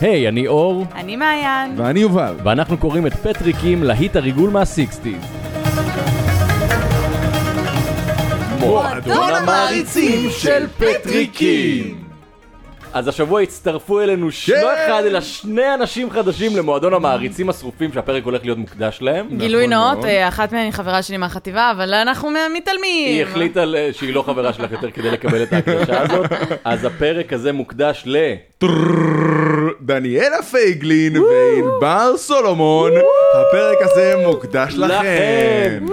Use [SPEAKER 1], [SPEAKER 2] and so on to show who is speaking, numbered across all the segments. [SPEAKER 1] היי, אני אור,
[SPEAKER 2] אני מעיין.
[SPEAKER 3] ואני יובל.
[SPEAKER 1] ואנחנו קוראים את פטריקים להיט הריגול מהסיקסטיז.
[SPEAKER 2] מועדון המעריצים
[SPEAKER 3] של פטריקים.
[SPEAKER 1] אז השבוע הצטרפו אלינו ש... לא
[SPEAKER 3] כן.
[SPEAKER 1] אחד, אלא שני אנשים חדשים למועדון המעריצים השרופים שהפרק הולך להיות מוקדש להם.
[SPEAKER 2] גילוי
[SPEAKER 3] נכון
[SPEAKER 2] נאות,
[SPEAKER 3] מאוד.
[SPEAKER 2] אה, אחת מהן היא חברה שלי מהחטיבה, אבל אנחנו מה- מתעלמים.
[SPEAKER 1] היא החליטה ל- שהיא לא חברה שלך יותר כדי לקבל את ההקדשה הזאת, אז הפרק הזה מוקדש ל...
[SPEAKER 3] דניאלה פייגלין וענבר סולומון, הפרק הזה מוקדש לכם.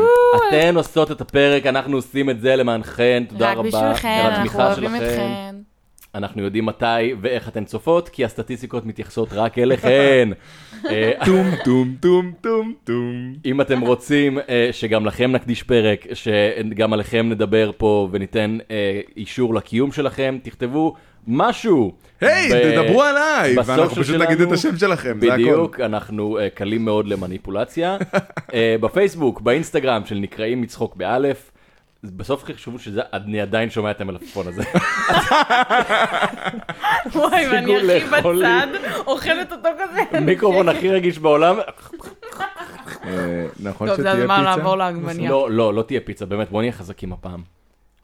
[SPEAKER 1] אתן עושות את הפרק, אנחנו עושים את זה למענכן, תודה
[SPEAKER 2] רק
[SPEAKER 1] רבה.
[SPEAKER 2] בשבילכן,
[SPEAKER 1] על
[SPEAKER 2] אנחנו
[SPEAKER 1] התמיכה
[SPEAKER 2] אוהבים
[SPEAKER 1] שלכן.
[SPEAKER 2] אתכן.
[SPEAKER 1] אנחנו יודעים מתי ואיך אתן צופות, כי הסטטיסטיקות מתייחסות רק אליכן. אה,
[SPEAKER 3] טום טום טום טום טום.
[SPEAKER 1] אם אתם רוצים אה, שגם לכם נקדיש פרק, שגם עליכם נדבר פה וניתן אה, אישור לקיום שלכם, תכתבו משהו.
[SPEAKER 3] היי,
[SPEAKER 1] ב-
[SPEAKER 3] תדברו עליי,
[SPEAKER 1] בסוף
[SPEAKER 3] ואנחנו פשוט
[SPEAKER 1] שלנו-
[SPEAKER 3] נגיד את השם שלכם, זה הכל.
[SPEAKER 1] בדיוק, אנחנו אה, קלים מאוד למניפולציה. אה, בפייסבוק, באינסטגרם של נקראים מצחוק באלף. אז בסוף חשבו שזה, אני עדיין שומע את המלפפון הזה.
[SPEAKER 2] וואי, ואני
[SPEAKER 1] תפסיקו
[SPEAKER 2] הכי
[SPEAKER 1] לאכול לי.
[SPEAKER 2] בצד, אוכלת אותו כזה.
[SPEAKER 1] מיקרופון הכי רגיש בעולם.
[SPEAKER 3] אה, נכון
[SPEAKER 2] טוב, זה
[SPEAKER 3] שתהיה
[SPEAKER 2] הזמן לעבור
[SPEAKER 3] פיצה?
[SPEAKER 2] לעגבניה.
[SPEAKER 1] לא, לא, לא תהיה פיצה, באמת, בוא נהיה חזקים הפעם.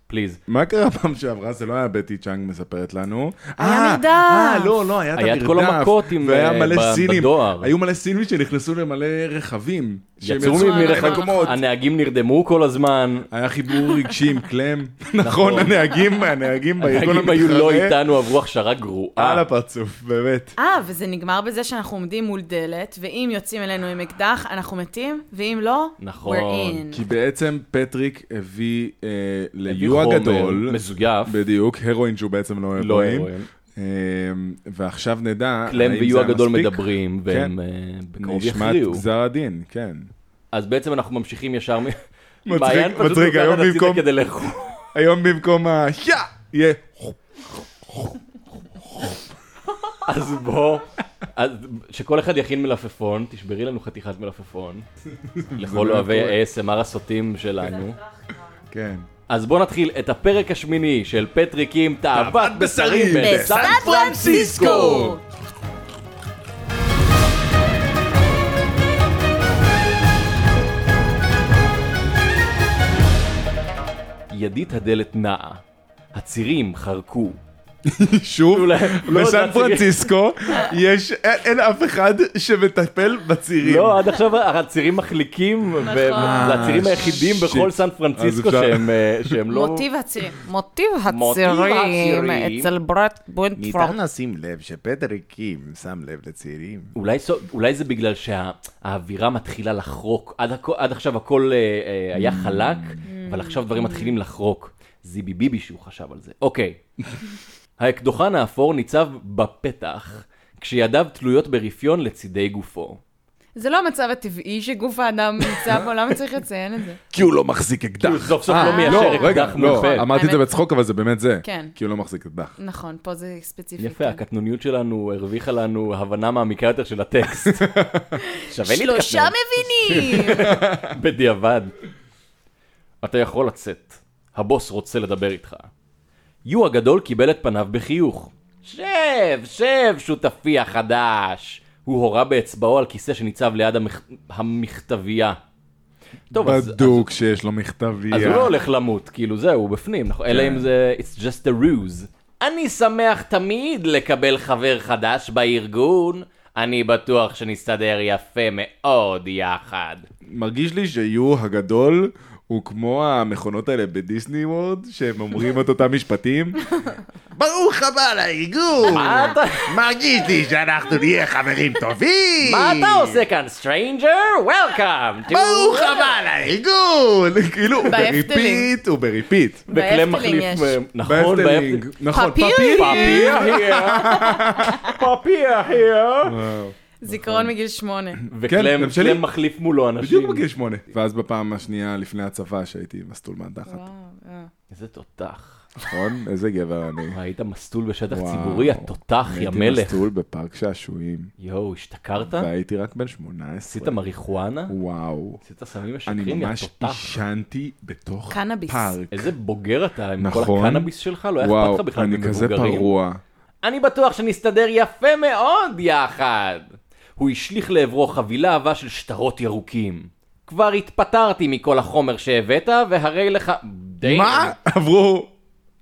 [SPEAKER 1] פליז.
[SPEAKER 3] מה קרה פעם שעברה? זה לא היה בטי צ'אנג מספרת לנו.
[SPEAKER 2] היה
[SPEAKER 3] אה,
[SPEAKER 2] מרדף.
[SPEAKER 3] אה, לא, לא, היה את המרדף.
[SPEAKER 1] היה את כל המכות עם,
[SPEAKER 3] והיה
[SPEAKER 1] אה,
[SPEAKER 3] מלא
[SPEAKER 1] ב-
[SPEAKER 3] סינים.
[SPEAKER 1] בדואר.
[SPEAKER 3] היו מלא סינים שנכנסו למלא רכבים. שהם
[SPEAKER 1] יצאו
[SPEAKER 3] יצאו מלא
[SPEAKER 1] מרכב-
[SPEAKER 3] מקומות.
[SPEAKER 1] הנהגים נרדמו כל הזמן.
[SPEAKER 3] היה חיבור רגשי עם קלם. נכון, הנהגים, הנהגים בארגון
[SPEAKER 1] הנהגים היו לא
[SPEAKER 3] המתחרה.
[SPEAKER 1] איתנו, עברו הכשרה
[SPEAKER 3] על
[SPEAKER 1] גרועה.
[SPEAKER 3] הפרצוף, באמת.
[SPEAKER 2] אה, וזה נגמר בזה שאנחנו עומדים מול דלת, ואם יוצאים אלינו עם אקדח, אנחנו מתים, ואם לא,
[SPEAKER 1] נכון.
[SPEAKER 2] we're in.
[SPEAKER 3] כי בעצם פטריק הביא אה,
[SPEAKER 1] הביא
[SPEAKER 3] ליו
[SPEAKER 1] חומר
[SPEAKER 3] הגדול,
[SPEAKER 1] מזויף.
[SPEAKER 3] בדיוק, הרואין שהוא בעצם לא
[SPEAKER 1] לא
[SPEAKER 3] הרואין,
[SPEAKER 1] הרואין.
[SPEAKER 3] אה, ועכשיו נדע,
[SPEAKER 1] קלם
[SPEAKER 3] האם זה
[SPEAKER 1] ויו
[SPEAKER 3] היה
[SPEAKER 1] הגדול
[SPEAKER 3] מספיק? כן.
[SPEAKER 1] מדברים, והם אה, בקרוב
[SPEAKER 3] נשמע
[SPEAKER 1] יכריעו.
[SPEAKER 3] גזר הדין, כן.
[SPEAKER 1] אז בעצם אנחנו ממשיכים ישר מ...
[SPEAKER 3] מצחיק,
[SPEAKER 1] מעיין פשוט
[SPEAKER 3] מצחיק,
[SPEAKER 1] לוקחת
[SPEAKER 3] היום
[SPEAKER 1] הצידה
[SPEAKER 3] במקום-
[SPEAKER 1] כדי לאכול.
[SPEAKER 3] היום במקום ה... יא! יהיה...
[SPEAKER 1] אז בוא, אז שכל אחד יכין מלפפון, תשברי לנו חתיכת מלפפון. לכל
[SPEAKER 3] לא
[SPEAKER 1] אוהבי
[SPEAKER 3] קורה.
[SPEAKER 1] ה-ASMR הסוטים שלנו.
[SPEAKER 3] כן.
[SPEAKER 1] אז בואו נתחיל את הפרק השמיני של פטריקים תאוות בשרים
[SPEAKER 3] בשרים
[SPEAKER 1] בסן
[SPEAKER 2] בסן
[SPEAKER 1] פרנסיסקו. ידית הדלת נעה, הצירים חרקו.
[SPEAKER 3] שוב,
[SPEAKER 1] אולי- לא, זה
[SPEAKER 3] בסן
[SPEAKER 1] הצירים.
[SPEAKER 3] פרנסיסקו יש, אין אין אף אחד שמטפל בצירים.
[SPEAKER 1] לא, עד עכשיו הצירים מחליקים, ו- זה הצירים היחידים
[SPEAKER 3] אה, שיט.
[SPEAKER 1] בכל סן
[SPEAKER 3] אז
[SPEAKER 1] פרנסיסקו
[SPEAKER 3] אפשר-
[SPEAKER 1] שהם, אה, שהם לא...
[SPEAKER 2] מוטיב הצירים. מוטיב
[SPEAKER 1] מוטיב
[SPEAKER 2] הצירים
[SPEAKER 1] הצירים.
[SPEAKER 2] אצל ברט בונטפורט.
[SPEAKER 3] לשים לב שפטריקים שם לב לצעירים.
[SPEAKER 1] אולי, סו- אולי זה בגלל שהאווירה מתחילה לחרוק. עד, הכ... עד עכשיו הכל אה, אה, היה חלק, אבל עכשיו דברים מתחילים לחרוק. זיבי ביבי שהוא חשב על זה. אוקיי. האקדוחן האפור ניצב בפתח, כשידיו תלויות ברפיון לצידי גופו.
[SPEAKER 2] זה לא המצב הטבעי שגוף האדם נמצא בו, למה צריך לציין את זה?
[SPEAKER 3] כי הוא לא מחזיק אקדח.
[SPEAKER 1] כי הוא סוף סוף
[SPEAKER 3] אה,
[SPEAKER 1] לא מיישר
[SPEAKER 3] לא, רגע,
[SPEAKER 1] אקדח מול
[SPEAKER 3] לא,
[SPEAKER 1] פה.
[SPEAKER 3] אמרתי את זה
[SPEAKER 2] האמת-
[SPEAKER 3] בצחוק, אבל זה באמת זה.
[SPEAKER 2] כן.
[SPEAKER 3] כי הוא לא מחזיק אקדח.
[SPEAKER 2] נכון, פה זה ספציפי.
[SPEAKER 1] יפה,
[SPEAKER 2] כן.
[SPEAKER 1] הקטנוניות שלנו הרוויחה לנו הבנה מעמיקה יותר של הטקסט. שווה להתקטנן.
[SPEAKER 2] שלושה מבינים!
[SPEAKER 1] בדיעבד. אתה יכול לצאת, הבוס רוצה לדבר איתך. יו הגדול קיבל את פניו בחיוך. שב, שב, שותפי החדש! הוא הורה באצבעו על כיסא שניצב ליד המכ... המכתבייה. טוב, אז, אז,
[SPEAKER 3] בדוק שיש לו מכתבייה.
[SPEAKER 1] אז הוא לא הולך למות, כאילו זהו, הוא בפנים, נכון? אלא אם זה, it's just a ruse. אני שמח תמיד לקבל חבר חדש בארגון, אני בטוח שנסתדר יפה מאוד יחד.
[SPEAKER 3] מרגיש לי שיו הגדול הוא כמו המכונות האלה בדיסני וורד, שהם אומרים את אותם משפטים. ברוך הבא לארגון!
[SPEAKER 1] מה אתה...
[SPEAKER 3] מרגיש לי שאנחנו נהיה חברים טובים!
[SPEAKER 1] מה אתה עושה כאן, סטרנג'ר? וולקאם!
[SPEAKER 3] ברוך הבא לארגון! כאילו, הוא
[SPEAKER 2] בהפטלינג.
[SPEAKER 3] בריפיט, הוא בריפיט.
[SPEAKER 1] בקלם
[SPEAKER 2] בהפטלינג
[SPEAKER 1] מחליף,
[SPEAKER 2] יש.
[SPEAKER 1] אה, נכון,
[SPEAKER 3] בהפטלינג. נכון,
[SPEAKER 2] פפיר.
[SPEAKER 1] פאפיה פאפיה
[SPEAKER 2] זיכרון מגיל שמונה.
[SPEAKER 3] כן,
[SPEAKER 1] וקלם
[SPEAKER 3] גם שלי.
[SPEAKER 1] קלם מחליף מולו
[SPEAKER 3] בדיוק
[SPEAKER 1] אנשים.
[SPEAKER 3] בגיל שמונה. ואז בפעם השנייה לפני הצבא שהייתי מסטול מהתחת.
[SPEAKER 2] וואו, אה. וואו.
[SPEAKER 1] איזה תותח.
[SPEAKER 3] נכון? איזה גבר אני.
[SPEAKER 1] היית מסטול בשטח
[SPEAKER 3] וואו.
[SPEAKER 1] ציבורי, התותח, יא
[SPEAKER 3] הייתי
[SPEAKER 1] מלך.
[SPEAKER 3] מסטול בפארק שעשועים,
[SPEAKER 1] יואו, השתכרת?
[SPEAKER 3] והייתי רק בן 18.
[SPEAKER 1] אה? עשית מריחואנה?
[SPEAKER 3] וואו.
[SPEAKER 1] עשית סמים
[SPEAKER 3] אני
[SPEAKER 1] משקרים, יא
[SPEAKER 3] ממש
[SPEAKER 1] תותח.
[SPEAKER 3] עישנתי בתוך
[SPEAKER 2] קנאביס.
[SPEAKER 3] פארק.
[SPEAKER 1] איזה בוגר אתה עם כל
[SPEAKER 3] נכון.
[SPEAKER 1] הקנאביס שלך, לא היה
[SPEAKER 3] וואו,
[SPEAKER 1] אכפת לך בכלל אה?
[SPEAKER 3] אני כזה
[SPEAKER 1] ממבוגרים.
[SPEAKER 3] פרוע.
[SPEAKER 1] אני בטוח שנסתדר יפה מאוד יחד. הוא השליך לעברו חבילה עבה של שטרות ירוקים. כבר התפטרתי מכל החומר שהבאת, והרי לך... די-
[SPEAKER 3] מה?
[SPEAKER 1] אה?
[SPEAKER 3] עברו...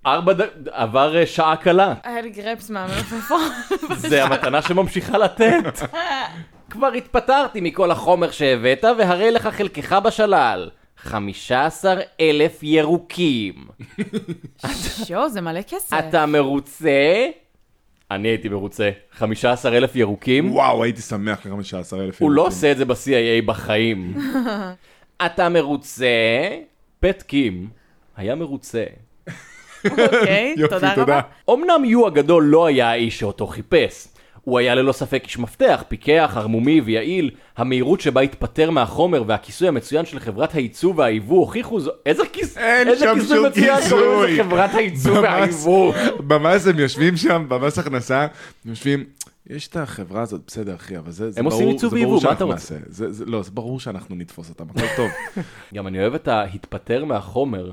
[SPEAKER 1] ארבע ד... עבר אה, שעה קלה.
[SPEAKER 2] אייל גרפס מהמלפפון.
[SPEAKER 1] זה המתנה שממשיכה לתת. כבר התפטרתי מכל החומר שהבאת, והרי לך חלקך בשלל. 15 אלף ירוקים.
[SPEAKER 2] יואו, זה מלא כסף.
[SPEAKER 1] אתה מרוצה? אני הייתי מרוצה. 15 אלף ירוקים?
[SPEAKER 3] וואו, הייתי שמח ל-15,000 ירוקים.
[SPEAKER 1] הוא לא עושה את זה ב-CIA בחיים. אתה מרוצה? פט קים היה מרוצה.
[SPEAKER 2] אוקיי,
[SPEAKER 3] יופי,
[SPEAKER 2] תודה
[SPEAKER 3] תודה.
[SPEAKER 2] רבה.
[SPEAKER 1] אמנם יו הגדול לא היה האיש שאותו חיפש. הוא היה ללא ספק איש מפתח, פיקח, ערמומי ויעיל. המהירות שבה התפטר מהחומר והכיסוי המצוין של חברת הייצוא והייבוא הוכיחו זו... איזה כיס...
[SPEAKER 3] אין
[SPEAKER 1] איזה
[SPEAKER 3] שם
[SPEAKER 1] כיסוי
[SPEAKER 3] שום
[SPEAKER 1] מצוין קוראים לזה
[SPEAKER 3] כיסוי.
[SPEAKER 1] חברת הייצוא
[SPEAKER 3] ממש.
[SPEAKER 1] והייבוא.
[SPEAKER 3] במס הם יושבים שם, במס הכנסה, הם יושבים, יש את החברה הזאת, בסדר אחי, אבל זה, זה
[SPEAKER 1] הם
[SPEAKER 3] ברור,
[SPEAKER 1] עושים ייצוא
[SPEAKER 3] זה
[SPEAKER 1] ויבוא,
[SPEAKER 3] ברור
[SPEAKER 1] מה אתה
[SPEAKER 3] שאנחנו
[SPEAKER 1] רוצה?
[SPEAKER 3] נעשה. זה, זה, לא, זה ברור שאנחנו נתפוס אותם, הכל טוב.
[SPEAKER 1] גם אני אוהב את ההתפטר מהחומר.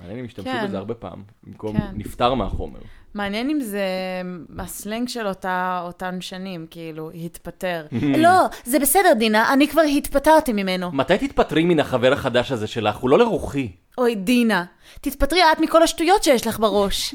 [SPEAKER 1] מעניין אם השתמשו
[SPEAKER 2] כן.
[SPEAKER 1] בזה הרבה פעם, במקום
[SPEAKER 2] כן.
[SPEAKER 1] נפטר מהחומר.
[SPEAKER 2] מעניין אם זה הסלנג של אותה, אותן שנים, כאילו, התפטר. לא, זה בסדר, דינה, אני כבר התפטרתי ממנו.
[SPEAKER 1] מתי תתפטרי מן החבר החדש הזה שלך? הוא לא לרוחי.
[SPEAKER 2] אוי, דינה, תתפטרי את מכל השטויות שיש לך בראש.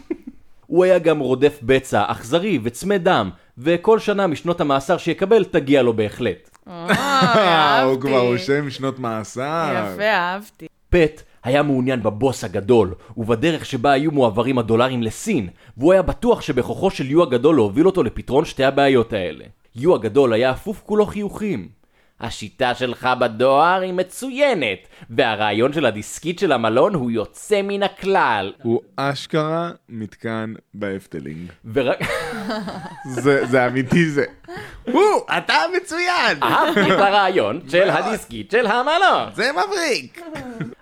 [SPEAKER 1] הוא היה גם רודף בצע, אכזרי וצמא דם, וכל שנה משנות המאסר שיקבל תגיע לו בהחלט.
[SPEAKER 2] אוי,
[SPEAKER 3] אה, הוא
[SPEAKER 2] אוקיי, אהבתי.
[SPEAKER 3] כבר רושם שנות מאסר.
[SPEAKER 2] יפה, אהבתי.
[SPEAKER 1] פט היה מעוניין בבוס הגדול, ובדרך שבה היו מועברים הדולרים לסין, והוא היה בטוח שבכוחו של יו הגדול להוביל אותו לפתרון שתי הבעיות האלה. יו הגדול היה אפוף כולו חיוכים. השיטה שלך בדואר היא מצוינת, והרעיון של הדיסקית של המלון הוא יוצא מן הכלל.
[SPEAKER 3] הוא אשכרה מתקן בהפטלינג.
[SPEAKER 1] ורק...
[SPEAKER 3] זה זה אמיתי זה. הוא, אתה מצוין!
[SPEAKER 1] אהבתי את הרעיון של הדיסקית של המלון.
[SPEAKER 3] זה מבריק!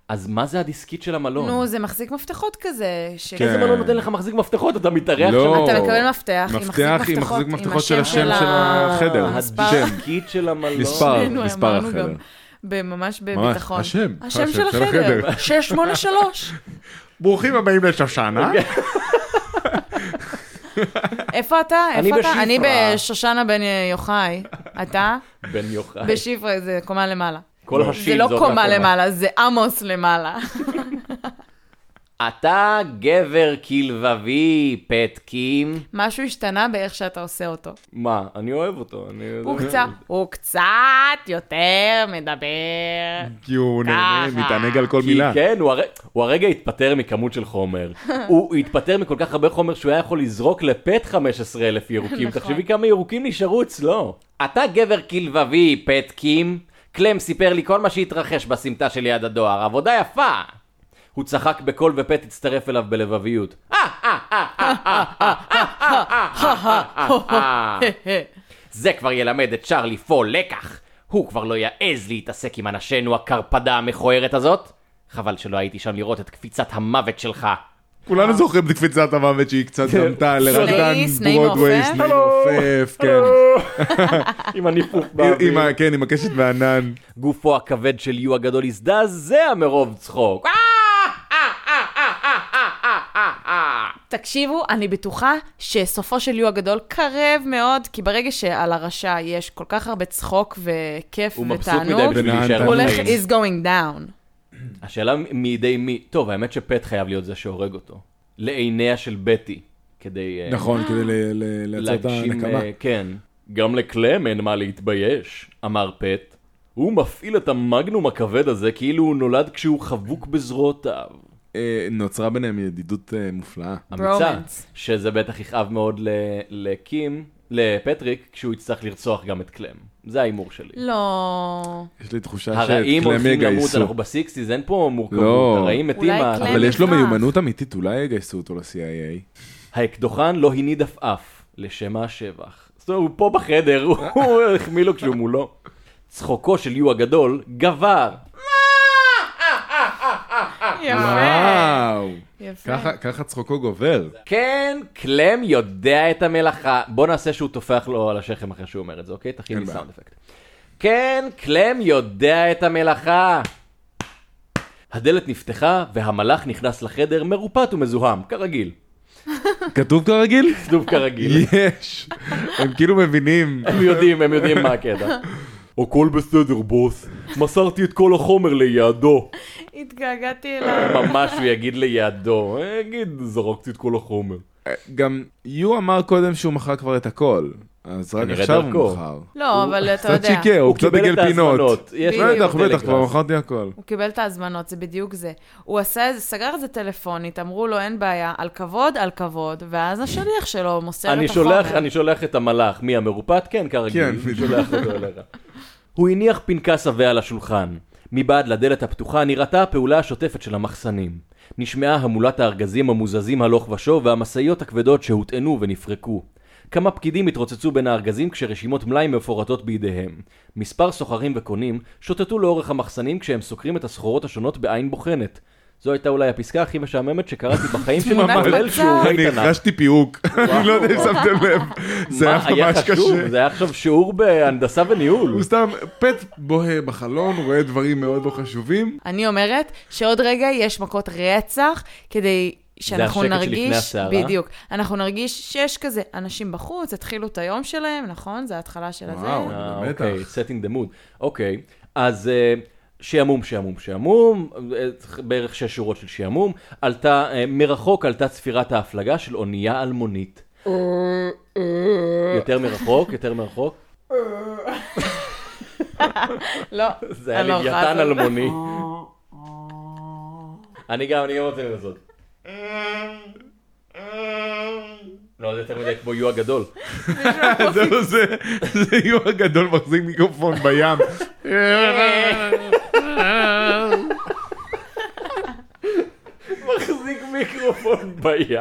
[SPEAKER 1] אז מה זה הדיסקית של המלון?
[SPEAKER 2] נו, זה מחזיק מפתחות כזה. ש...
[SPEAKER 3] כן.
[SPEAKER 1] איזה מלון נותן לך מחזיק מפתחות? אתה מתארח
[SPEAKER 3] לא.
[SPEAKER 1] שם?
[SPEAKER 2] אתה מקבל מפתח, היא
[SPEAKER 3] מפתח עם מחזיק מפתחות של השם של החדר. כן.
[SPEAKER 2] מספר.
[SPEAKER 3] שם.
[SPEAKER 1] הדיסקית של המלון.
[SPEAKER 3] מספר.
[SPEAKER 2] שנינו
[SPEAKER 3] מספר
[SPEAKER 2] אמרנו
[SPEAKER 3] החדר.
[SPEAKER 2] גם ממש בביטחון.
[SPEAKER 3] השם,
[SPEAKER 2] השם של החדר. 683.
[SPEAKER 3] ברוכים הבאים לשושנה.
[SPEAKER 1] אוקיי.
[SPEAKER 2] איפה אתה?
[SPEAKER 1] אני
[SPEAKER 2] איפה אתה?
[SPEAKER 1] בשפרה.
[SPEAKER 2] אני בשושנה בן יוחאי. אתה?
[SPEAKER 1] בן יוחאי.
[SPEAKER 2] בשפרה, זה קומה למעלה.
[SPEAKER 1] כל
[SPEAKER 2] זה
[SPEAKER 1] השין
[SPEAKER 2] לא
[SPEAKER 1] זאת
[SPEAKER 2] קומה
[SPEAKER 1] הקומה.
[SPEAKER 2] למעלה, זה עמוס למעלה.
[SPEAKER 1] אתה גבר כלבבי, פטקים.
[SPEAKER 2] משהו השתנה באיך שאתה עושה אותו.
[SPEAKER 1] מה? אני אוהב אותו.
[SPEAKER 2] הוא קצת, הוא קצת יותר מדבר.
[SPEAKER 3] כי הוא נהנה,
[SPEAKER 2] ככה.
[SPEAKER 3] מתענג על כל
[SPEAKER 1] כי
[SPEAKER 3] מילה.
[SPEAKER 1] כן, הוא, הר... הוא הרגע התפטר מכמות של חומר. הוא התפטר מכל כך הרבה חומר שהוא היה יכול לזרוק לפט 15,000 ירוקים.
[SPEAKER 2] נכון.
[SPEAKER 1] תחשבי כמה ירוקים נשארו אצלו. אתה גבר כלבבי, פטקים. קלם סיפר לי כל מה שהתרחש בסמטה שליד הדואר. עבודה יפה! הוא צחק בקול ופט הצטרף אליו בלבביות. אה, אה, אה, אה, אה, אה, אה, אה, אה, אה, אה, אה. זה כבר ילמד את צ'רלי פול לקח. הוא כבר לא יעז להתעסק עם אנשינו הקרפדה המכוערת הזאת. חבל שלא הייתי שם לראות את קפיצת המוות שלך.
[SPEAKER 3] כולנו
[SPEAKER 1] אה.
[SPEAKER 3] זוכרים את קפיצת המוות שהיא קצת
[SPEAKER 1] כן.
[SPEAKER 3] דמתה לרקדן
[SPEAKER 2] סנאי, סנאי
[SPEAKER 3] ברודוויי,
[SPEAKER 2] מעופף.
[SPEAKER 3] סנאי מעופף, כן.
[SPEAKER 1] עם הניפוף
[SPEAKER 3] עם- עם ה- כן, עם הקשת והענן.
[SPEAKER 1] גופו הכבד של יו הגדול הזדעזע מרוב צחוק. אה, אה, אה, אה, אה, אה, אה, אה, אה.
[SPEAKER 2] תקשיבו, אני בטוחה שסופו של יו הגדול קרב מאוד, כי ברגע שעל הרשע יש כל כך הרבה צחוק וכיף
[SPEAKER 1] הוא מבסוט
[SPEAKER 2] ותענוג,
[SPEAKER 1] מדי בשביל
[SPEAKER 3] ונען
[SPEAKER 1] להישאר
[SPEAKER 2] הוא
[SPEAKER 3] תענוג.
[SPEAKER 2] הולך
[SPEAKER 1] בחיים.
[SPEAKER 2] is going down.
[SPEAKER 1] השאלה מידי מי... טוב, האמת שפט חייב להיות זה שהורג אותו. לעיניה של בטי. כדי... אה,
[SPEAKER 3] נכון, כדי ל- ל- לייצר את
[SPEAKER 1] להגשים,
[SPEAKER 3] הנקמה.
[SPEAKER 1] אה, כן. גם לקלם אין מה להתבייש, אמר פט. הוא מפעיל את המגנום הכבד הזה כאילו הוא נולד כשהוא חבוק בזרועותיו.
[SPEAKER 3] אה, נוצרה ביניהם ידידות אה, מופלאה.
[SPEAKER 1] אמיצה,
[SPEAKER 2] Bromance.
[SPEAKER 1] שזה בטח יכאב מאוד ל- לקים, לפטריק, כשהוא יצטרך לרצוח גם את קלם. זה ההימור שלי.
[SPEAKER 2] לא...
[SPEAKER 3] יש לי תחושה
[SPEAKER 1] הרעים
[SPEAKER 3] שאת קלמי
[SPEAKER 1] הולכים למות,
[SPEAKER 3] יגייסו.
[SPEAKER 1] אנחנו בסיקסטיז, אין פה מורכבות,
[SPEAKER 3] לא.
[SPEAKER 1] הרעים מתים.
[SPEAKER 2] אולי
[SPEAKER 1] ה-
[SPEAKER 2] קלם-
[SPEAKER 3] אבל יש לו
[SPEAKER 2] מזרח.
[SPEAKER 3] מיומנות אמיתית, אולי יגייסו אותו ל-CIA.
[SPEAKER 1] האקדוחן לא הניד עפעף, לשם השבח. זאת אומרת, הוא פה בחדר, הוא החמיא לו כשהוא מולו. צחוקו של יו הגדול גבר.
[SPEAKER 2] לא. יפה.
[SPEAKER 3] וואו.
[SPEAKER 2] יפה.
[SPEAKER 3] ככה- ככה צחוקו גובר.
[SPEAKER 1] כן, קלם יודע את המלאכה. בוא נעשה שהוא טופח לו על השכם אחרי שהוא אומר את זה, אוקיי? תכין לי
[SPEAKER 3] אין בעיה.
[SPEAKER 1] סאונד אפקט. כן, קלם יודע את המלאכה. הדלת נפתחה והמלאך נכנס לחדר מרופט ומזוהם, כרגיל.
[SPEAKER 3] כתוב כרגיל?
[SPEAKER 1] כתוב כרגיל.
[SPEAKER 3] יש. הם כאילו מבינים.
[SPEAKER 1] הם יודעים, הם יודעים מה הקטע. הכל בסדר, בוס. מסרתי את כל החומר ליעדו.
[SPEAKER 2] התגעגעתי אליו.
[SPEAKER 1] ממש הוא יגיד ליעדו. אה, יגיד, זרקתי את כל החומר.
[SPEAKER 3] גם יו אמר קודם שהוא מכר כבר את הכל, אז רק
[SPEAKER 1] כנראה
[SPEAKER 3] עכשיו
[SPEAKER 1] דרכו.
[SPEAKER 3] הוא מכר.
[SPEAKER 2] לא, אבל אתה
[SPEAKER 3] קצת
[SPEAKER 2] יודע.
[SPEAKER 3] שיקר, הוא קצת
[SPEAKER 1] קיבל את
[SPEAKER 3] עגל
[SPEAKER 1] ההזמנות.
[SPEAKER 3] פינות.
[SPEAKER 1] יש
[SPEAKER 2] בדיוק.
[SPEAKER 3] בטח, בטח, כבר
[SPEAKER 1] טלגראס.
[SPEAKER 3] מכרתי הכל.
[SPEAKER 2] הוא קיבל את ההזמנות, זה בדיוק זה. הוא עשה, איזה- סגר את זה טלפונית, אמרו לו, אין בעיה, על כבוד, על כבוד, ואז השליח שלו מוסר את
[SPEAKER 1] אני
[SPEAKER 2] החומר.
[SPEAKER 1] שולח, אני שולח את המלאך. מי המרופט? כן, כרגיל.
[SPEAKER 3] כן,
[SPEAKER 1] אני
[SPEAKER 3] בדיוק.
[SPEAKER 1] שולח אותו אליך. הוא הניח פנקס עבה על השולחן. מבעד לדלת הפתוחה נראתה הפעולה השוטפת של המחסנים. נשמעה המולת הארגזים המוזזים הלוך ושוב והמשאיות הכבדות שהוטענו ונפרקו. כמה פקידים התרוצצו בין הארגזים כשרשימות מלאי מפורטות בידיהם. מספר סוחרים וקונים שוטטו לאורך המחסנים כשהם סוקרים את הסחורות השונות בעין בוחנת. זו הייתה אולי הפסקה הכי משעממת שקראתי בחיים שלי,
[SPEAKER 2] תמונת
[SPEAKER 1] כולל
[SPEAKER 2] מצב.
[SPEAKER 1] שיעורי
[SPEAKER 3] אני
[SPEAKER 1] תנ"ך.
[SPEAKER 3] הרגשתי פיהוק, אני לא יודע אם שמתם לב, זה היה
[SPEAKER 1] מה,
[SPEAKER 3] ממש
[SPEAKER 1] חשוב?
[SPEAKER 3] קשה.
[SPEAKER 1] זה היה עכשיו שיעור בהנדסה וניהול.
[SPEAKER 3] הוא סתם פט בוהה בחלון, הוא רואה דברים מאוד לא חשובים.
[SPEAKER 2] אני אומרת שעוד רגע יש מכות רצח כדי שאנחנו
[SPEAKER 1] השקט
[SPEAKER 2] נרגיש...
[SPEAKER 1] שלפני הסערה.
[SPEAKER 2] בדיוק. אנחנו נרגיש שיש כזה אנשים בחוץ, התחילו את היום שלהם, נכון? זה ההתחלה של הזה.
[SPEAKER 3] וואו.
[SPEAKER 1] אה,
[SPEAKER 3] במתח.
[SPEAKER 1] אוקיי, setting the mood. אוקיי, אז אה, שעמום, שעמום, שעמום, אה, בערך שש שורות של שעמום. עלתה, אה, מרחוק עלתה צפירת ההפלגה של אונייה אלמונית.
[SPEAKER 2] אה,
[SPEAKER 1] יותר מרחוק, יותר מרחוק.
[SPEAKER 2] לא,
[SPEAKER 1] זה היה
[SPEAKER 2] אני לא יכולה
[SPEAKER 1] לוויתן
[SPEAKER 2] לעשות.
[SPEAKER 1] אלמוני.
[SPEAKER 2] אה.
[SPEAKER 1] אני גם, אני גם רוצה לנסות.
[SPEAKER 2] אה.
[SPEAKER 1] לא, זה יותר מדי כמו יו הגדול.
[SPEAKER 3] זהו זה, זה יו הגדול מחזיק מיקרופון בים.
[SPEAKER 1] מחזיק מיקרופון בים.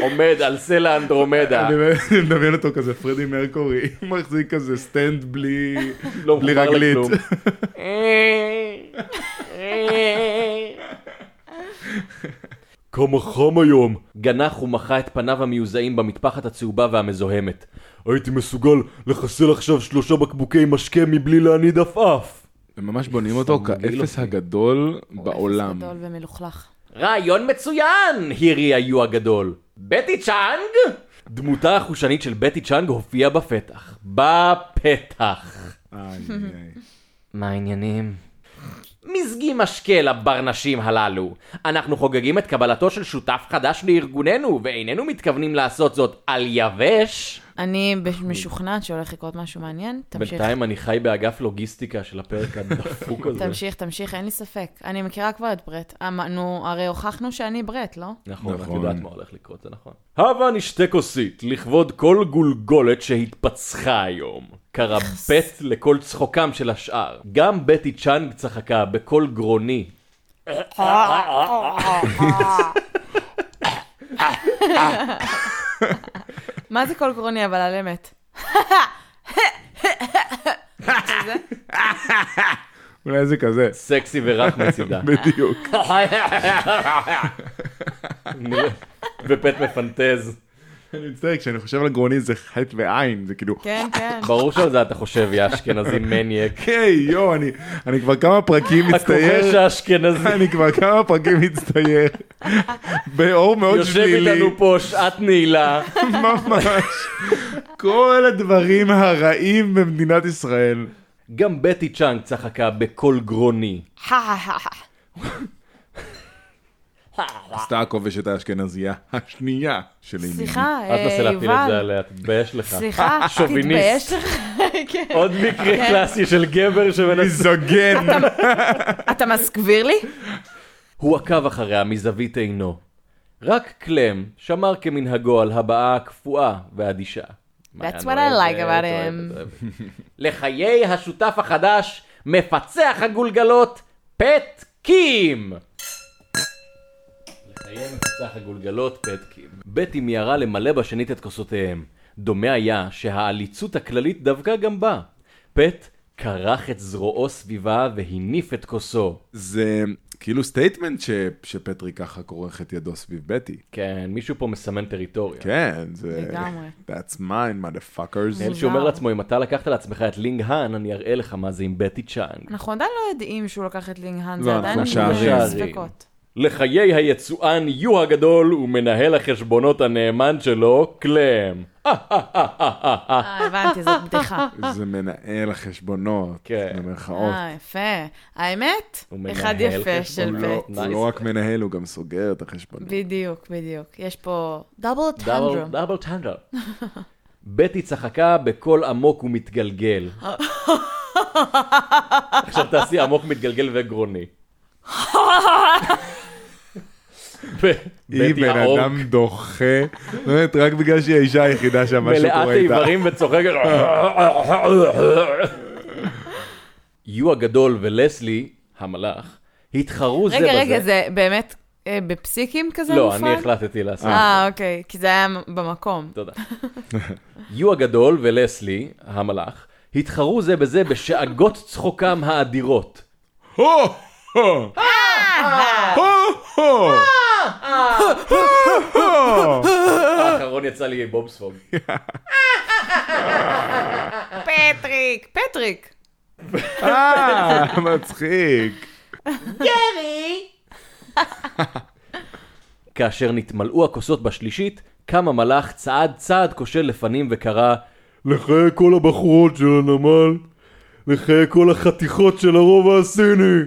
[SPEAKER 1] עומד על סלע אנדרומדה.
[SPEAKER 3] אני מדמיין אותו כזה, פרדי מרקורי, מחזיק כזה סטנד בלי
[SPEAKER 1] לא
[SPEAKER 3] בלי
[SPEAKER 1] מחובר
[SPEAKER 3] רגלית.
[SPEAKER 1] לכלום. כמה חם היום! גנח ומחה את פניו המיוזעים במטפחת הצהובה והמזוהמת. הייתי מסוגל לחסל עכשיו שלושה בקבוקי משקה מבלי להניד עפעף.
[SPEAKER 3] הם ממש בונים אותו כאפס הגדול בעולם.
[SPEAKER 2] גדול ומלוכלך.
[SPEAKER 1] רעיון מצוין! הרי היו הגדול. בטי צ'אנג? דמותה החושנית של בטי צ'אנג הופיעה בפתח. בפתח.
[SPEAKER 3] איי, איי.
[SPEAKER 1] מה העניינים? מזגי משקה לברנשים הללו. אנחנו חוגגים את קבלתו של שותף חדש לארגוננו, ואיננו מתכוונים לעשות זאת על יבש.
[SPEAKER 2] אני משוכנעת שהולך לקרות משהו מעניין. תמשיך.
[SPEAKER 1] בינתיים אני חי באגף לוגיסטיקה של הפרק הדפוק הזה.
[SPEAKER 2] תמשיך, תמשיך, אין לי ספק. אני מכירה כבר את ברט. אמ- נו, הרי הוכחנו שאני ברט, לא?
[SPEAKER 1] נכון, את
[SPEAKER 3] נכון.
[SPEAKER 1] יודעת מה הולך לקרות, זה נכון. הבה נשתה כוסית, לכבוד כל גולגולת שהתפצחה היום. קרא בט לכל צחוקם של השאר. גם בטי צ'אנג צחקה בקול גרוני.
[SPEAKER 2] מה זה קול גרוני, אבל על אמת?
[SPEAKER 3] אולי זה כזה,
[SPEAKER 1] סקסי ורך מצידה.
[SPEAKER 3] בדיוק.
[SPEAKER 1] ופט מפנטז.
[SPEAKER 3] אני מצטער, כשאני חושב על גרוני זה חטא ועין, זה כאילו,
[SPEAKER 2] כן, כן.
[SPEAKER 1] ברור שעל זה אתה חושב, יא אשכנזי מניאק.
[SPEAKER 3] היי, יואו, אני- אני כבר כמה
[SPEAKER 1] הכובש
[SPEAKER 3] פרקים מצטייר,
[SPEAKER 1] האשכנזי.
[SPEAKER 3] אני כבר כמה פרקים מצטייר, באור מאוד
[SPEAKER 1] יושב
[SPEAKER 3] שלילי,
[SPEAKER 1] איתנו פה שעת נעילה.
[SPEAKER 3] ממש, כל הדברים הרעים במדינת ישראל.
[SPEAKER 1] גם בטי צ'אנג צחקה בקול גרוני.
[SPEAKER 3] עשתה הכובשת האשכנזייה השנייה של אימי.
[SPEAKER 2] סליחה, אה,
[SPEAKER 1] אל תנסה להפיל את זה
[SPEAKER 2] יובל.
[SPEAKER 1] עליה, תתבייש לך.
[SPEAKER 2] סליחה,
[SPEAKER 1] שוביניסט.
[SPEAKER 2] תתבייש לך. כן.
[SPEAKER 1] עוד מקרה קלאסי של גבר שמנסה...
[SPEAKER 3] מיזוגן.
[SPEAKER 2] אתה מסגביר לי?
[SPEAKER 1] הוא עקב אחריה מזווית עינו. רק קלם שמר כמנהגו על הבעה הקפואה והאדישה.
[SPEAKER 2] That's what I like about him.
[SPEAKER 1] לחיי השותף החדש, מפצח הגולגלות, פט קים! לחיי מפצח הגולגלות, פט קים. בטי מיהרה למלא בשנית את כוסותיהם. דומה היה שהעליצות הכללית דבקה גם בה. פט כרך את זרועו סביבה והניף את כוסו.
[SPEAKER 3] זה כאילו סטייטמנט ש- שפטרי ככה כורך את ידו סביב בטי.
[SPEAKER 1] כן, מישהו פה מסמן טריטוריה.
[SPEAKER 3] כן, זה...
[SPEAKER 2] לגמרי.
[SPEAKER 3] That's mine, motherfuckers.
[SPEAKER 1] כן, שאומר לעצמו, אם אתה לקחת לעצמך את לינג האן, אני אראה לך מה זה עם בטי צ'אנג.
[SPEAKER 2] אנחנו עדיין לא יודעים שהוא לקח את לינג האן,
[SPEAKER 3] לא,
[SPEAKER 2] זה עדיין
[SPEAKER 3] אנחנו שערים.
[SPEAKER 2] כאילו ספקות.
[SPEAKER 1] לחיי היצואן יו הגדול ומנהל החשבונות הנאמן שלו, קלם.
[SPEAKER 2] אה, הבנתי, זאת בדיחה.
[SPEAKER 3] זה מנהל החשבונות,
[SPEAKER 1] כן.
[SPEAKER 3] במרכאות.
[SPEAKER 2] Mm. אה, יפה. האמת,
[SPEAKER 1] הוא מנהל
[SPEAKER 2] אחד יפה
[SPEAKER 1] חשבון.
[SPEAKER 2] של
[SPEAKER 3] הוא לא-
[SPEAKER 2] בית.
[SPEAKER 3] הוא לא רק מנהל, הוא גם סוגר את
[SPEAKER 1] לא-
[SPEAKER 3] החשבונות.
[SPEAKER 2] בדיוק, בדיוק. יש פה דאבל
[SPEAKER 1] דאבל-
[SPEAKER 2] טנדרום.
[SPEAKER 1] דאבל טנדר. בטי צחקה בקול עמוק ומתגלגל. עכשיו תעשי עמוק, מתגלגל וגרוני. ב-
[SPEAKER 3] היא
[SPEAKER 1] בטי
[SPEAKER 3] בן
[SPEAKER 1] האור
[SPEAKER 3] אדם דוחה, באמת, רק בגלל שהיא האישה היחידה שם, משהו
[SPEAKER 1] מלאת
[SPEAKER 3] קורה איתה.
[SPEAKER 1] איברים וצוחקת. יו הגדול ולסלי, המלאך, התחרו זה בזה.
[SPEAKER 2] רגע, רגע, זה באמת אה, בפסיקים כזה
[SPEAKER 1] לא,
[SPEAKER 2] מופרד?
[SPEAKER 1] אני החלטתי לעשות את זה.
[SPEAKER 2] אה, אוקיי, כי זה היה במקום.
[SPEAKER 1] תודה. יו הגדול ולסלי, המלאך, התחרו זה בזה בשאגות צחוקם האדירות.
[SPEAKER 3] הו! הו!
[SPEAKER 2] אה!
[SPEAKER 3] הו! הו! הו!
[SPEAKER 1] האחרון יצא לי בובספוג. אה.
[SPEAKER 2] פטריק, פטריק.
[SPEAKER 3] אה, מצחיק.
[SPEAKER 1] כאשר נתמלאו הכוסות בשלישית, קם המלאך צעד צעד כושל לפנים וקרא לחיי כל הבחורות של הנמל, לחיי כל החתיכות של הרובע הסיני.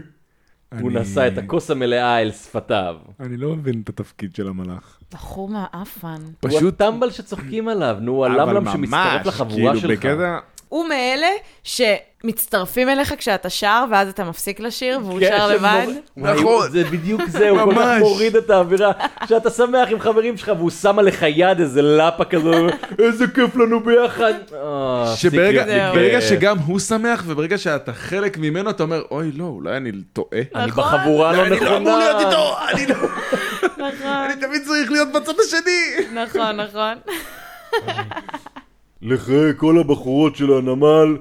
[SPEAKER 1] הוא
[SPEAKER 3] אני-
[SPEAKER 1] נשא את הכוס המלאה אל שפתיו.
[SPEAKER 3] אני לא מבין את התפקיד של המלאך.
[SPEAKER 2] בחור מהאפן.
[SPEAKER 1] הוא
[SPEAKER 3] פשוט,
[SPEAKER 1] הטמבל שצוחקים עליו, נו, הוא הלמלם שמצטרף לחבורה
[SPEAKER 3] כאילו,
[SPEAKER 1] שלך.
[SPEAKER 3] בקטע...
[SPEAKER 2] הוא מאלה שמצטרפים אליך כשאתה שר, ואז אתה מפסיק לשיר, והוא
[SPEAKER 1] כן,
[SPEAKER 2] שר
[SPEAKER 1] של
[SPEAKER 2] לבד.
[SPEAKER 1] מור- וואי,
[SPEAKER 3] נכון.
[SPEAKER 1] זה בדיוק זה, הוא כל כך
[SPEAKER 3] ממש.
[SPEAKER 1] מוריד את האווירה, שאתה שמח עם חברים שלך והוא שם עליך יד איזה לפה כזו, איזה כיף לנו ביחד. אה,
[SPEAKER 3] שברגע
[SPEAKER 1] הפסיק לי
[SPEAKER 2] זהו.
[SPEAKER 3] ברגע
[SPEAKER 1] כיף.
[SPEAKER 3] שגם הוא שמח, וברגע שאתה חלק ממנו, אתה אומר, אוי, לא, אולי אני טועה.
[SPEAKER 1] אני
[SPEAKER 2] נכון.
[SPEAKER 1] בחבורה לא
[SPEAKER 3] אני לא אמור להיות
[SPEAKER 1] נכונה.
[SPEAKER 3] איתו, אני לא... אני תמיד צריך להיות בצד השני.
[SPEAKER 2] נכון, נכון.
[SPEAKER 1] לחיי כל הבחורות של הנמל,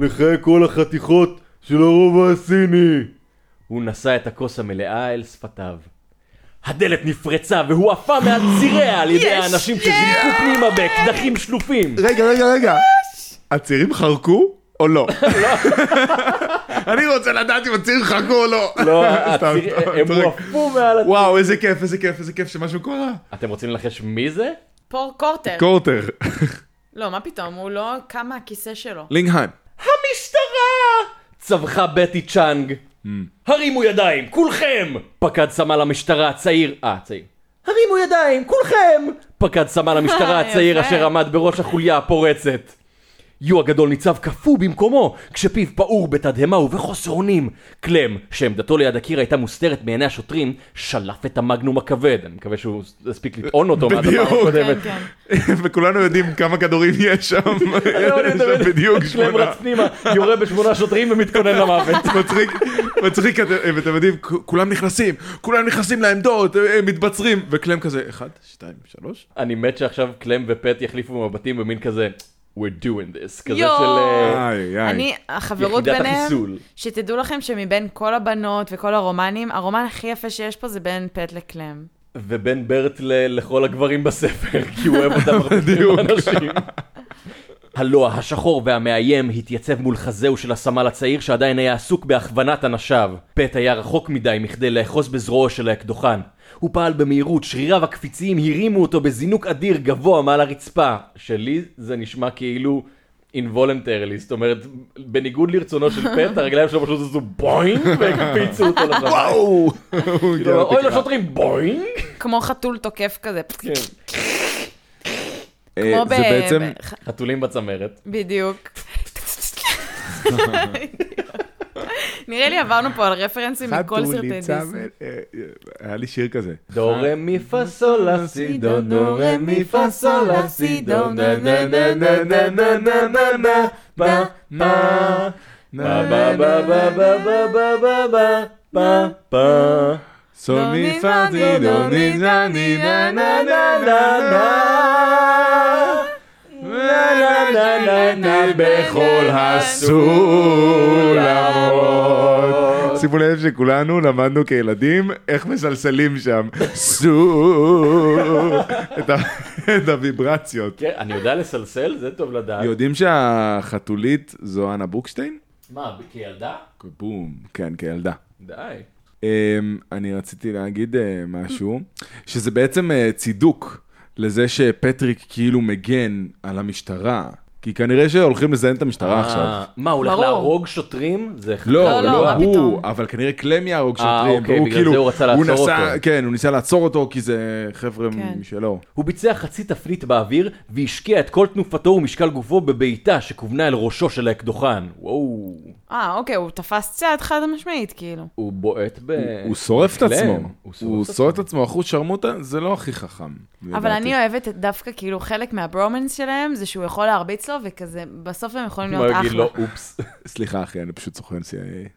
[SPEAKER 1] לחיי כל החתיכות של הרובע הסיני. הוא נשא את הכוס המלאה אל שפתיו. הדלת נפרצה והוא עפה מעל ציריה על ידי
[SPEAKER 2] יש!
[SPEAKER 1] האנשים שזינקו פנימה באקדחים שלופים.
[SPEAKER 3] רגע, רגע, רגע. הצירים חרקו או לא? אני רוצה לדעת אם הצירים חרקו או לא.
[SPEAKER 1] לא,
[SPEAKER 3] סתם,
[SPEAKER 1] הציר-
[SPEAKER 3] סתם,
[SPEAKER 1] הם
[SPEAKER 3] צוחק.
[SPEAKER 1] הועפו מעל... הצ-
[SPEAKER 3] וואו, איזה כיף, איזה כיף, איזה כיף שמשהו קרה.
[SPEAKER 1] אתם רוצים לנחש מי זה?
[SPEAKER 2] פור קורטר.
[SPEAKER 3] קורטר.
[SPEAKER 2] לא, מה פתאום, הוא לא קם מהכיסא
[SPEAKER 1] לא,
[SPEAKER 2] שלו.
[SPEAKER 3] לינגהן.
[SPEAKER 1] המשטרה! צווחה בטי צ'אנג.
[SPEAKER 3] Hmm.
[SPEAKER 1] הרימו ידיים, כולכם! פקד סמל המשטרה הצעיר... אה, צעיר. הרימו ידיים, כולכם! פקד סמל
[SPEAKER 3] אה,
[SPEAKER 1] המשטרה הצעיר
[SPEAKER 2] יפה.
[SPEAKER 1] אשר עמד בראש החוליה הפורצת. יו הגדול ניצב קפוא במקומו, כשפיו פעור בתדהמה ובחוסר אונים. קלם, שעמדתו ליד הקיר הייתה מוסתרת מעיני השוטרים, שלף את המגנום הכבד. אני מקווה שהוא הספיק לטעון אותו מהדבר
[SPEAKER 3] בדיוק.
[SPEAKER 1] הקודמת.
[SPEAKER 2] כן, כן.
[SPEAKER 3] וכולנו יודעים כמה כדורים יש שם.
[SPEAKER 1] לא
[SPEAKER 3] יש שם בדיוק
[SPEAKER 1] קלם
[SPEAKER 3] שמונה.
[SPEAKER 1] רץ פנימה, יורה בשמונה שוטרים ומתכונן למוות.
[SPEAKER 3] מצחיק, מצחיק, אתם ואתם יודעים, כ- כולם נכנסים, כולם נכנסים לעמדות, הם מתבצרים, וקלם כזה, אחד, שתיים, שלוש.
[SPEAKER 1] אני מת שעכשיו קלם ופט יחליפו מבטים במין כזה, We're doing this, כזה
[SPEAKER 2] יואו.
[SPEAKER 1] של אה,
[SPEAKER 3] איי, איי.
[SPEAKER 2] אני, החברות
[SPEAKER 1] יחידת
[SPEAKER 2] ביניהם,
[SPEAKER 1] החיסול.
[SPEAKER 2] שתדעו לכם שמבין כל הבנות וכל הרומנים, הרומן הכי יפה שיש פה זה בין פט לקלם.
[SPEAKER 1] ובן ברט ל- לכל הגברים בספר, כי הוא אוהב אותם הרבה
[SPEAKER 3] בדיוק.
[SPEAKER 1] יותר אנשים. הלוע השחור והמאיים התייצב מול חזהו של הסמל הצעיר שעדיין היה עסוק בהכוונת אנשיו. פט היה רחוק מדי מכדי לאחוז בזרועו של האקדוחן. הוא פעל במהירות, שריריו הקפיציים הרימו אותו בזינוק אדיר גבוה מעל הרצפה. שלי זה נשמע כאילו involuntarily, זאת אומרת, בניגוד לרצונו של פט, הרגליים שלו פשוט עשו בוינג והקפיצו אותו לזמן.
[SPEAKER 3] וואו! לא, הוא הגיע
[SPEAKER 1] אוי
[SPEAKER 3] לתקרה.
[SPEAKER 1] לשוטרים בוינג! כן.
[SPEAKER 2] כמו חתול תוקף כזה.
[SPEAKER 3] כן. אה,
[SPEAKER 2] כמו ב...
[SPEAKER 3] זה בעצם,
[SPEAKER 2] ב- ח-
[SPEAKER 1] חתולים בצמרת.
[SPEAKER 2] בדיוק. נראה לי עברנו פה על רפרנסים מכל סרטי דיסני.
[SPEAKER 3] אה, היה לי שיר כזה.
[SPEAKER 1] דו רה מי פה סול לה סי דו דו רה מי פה סול לה סי דו נה נה נה נה נה נה נה נה נה פה פה פה פה פה פה פה פה פה פה פה פה
[SPEAKER 3] סוני פאדי דוני נני נה נה נה נה נה נה נה נה בכל הסולמות. שימו לב שכולנו למדנו כילדים איך מסלסלים שם. סו... את ה- את הוויברציות.
[SPEAKER 1] כן, אני יודע לסלסל? זה טוב לדעת.
[SPEAKER 3] כן. יודעים שהחתולית זו אנה בוקשטיין?
[SPEAKER 1] מה, כילדה?
[SPEAKER 3] בום. כן, כילדה.
[SPEAKER 1] די.
[SPEAKER 3] אה, אמ, אני רציתי להגיד אה, משהו, שזה בעצם אה, צידוק לזה שפטריק כאילו מגן על המשטרה, כי כנראה שהולכים לזיין את המשטרה עכשיו.
[SPEAKER 1] אה, מה, הוא הולך
[SPEAKER 2] ברור.
[SPEAKER 1] להרוג שוטרים? זה אחד-
[SPEAKER 3] לא,
[SPEAKER 2] לא,
[SPEAKER 3] לא
[SPEAKER 2] מה
[SPEAKER 3] הוא,
[SPEAKER 2] פתאום?
[SPEAKER 3] אבל כנראה קלם יהרוג
[SPEAKER 1] אה,
[SPEAKER 3] שוטרים,
[SPEAKER 1] אוקיי,
[SPEAKER 3] והוא
[SPEAKER 1] בגלל זה הוא רצה לעצור
[SPEAKER 3] נסע-
[SPEAKER 1] אותו.
[SPEAKER 3] כן, הוא ניסה לעצור אותו כי זה חבר'ה
[SPEAKER 2] כן.
[SPEAKER 3] משלו.
[SPEAKER 1] הוא ביצע חצי תפנית באוויר והשקיע את כל תנופתו ומשקל גופו בבעיטה שכוונה אל ראשו של האקדוחן. וואו.
[SPEAKER 2] אה, אוקיי, הוא תפס צעד חד משמעית, כאילו.
[SPEAKER 1] הוא בועט ב...
[SPEAKER 3] הוא שורף את
[SPEAKER 1] קלם.
[SPEAKER 3] עצמו,
[SPEAKER 1] אה, הוא שורף
[SPEAKER 3] הוא
[SPEAKER 1] את
[SPEAKER 3] שורף את עצמו, אחוז שרמוטה זה לא הכי חכם.
[SPEAKER 2] אבל
[SPEAKER 3] לדעתי.
[SPEAKER 2] אני אוהבת את דווקא, כאילו, חלק מהברומנס שלהם זה שהוא יכול להרביץ לו, וכזה, בסוף הם יכולים
[SPEAKER 1] עצמו. הוא
[SPEAKER 2] להיות
[SPEAKER 1] יגיד
[SPEAKER 2] אחלה.
[SPEAKER 3] לא.
[SPEAKER 2] אה?
[SPEAKER 1] לו, אופס.
[SPEAKER 3] סליחה אחי, אני פשוט סוכן CIA.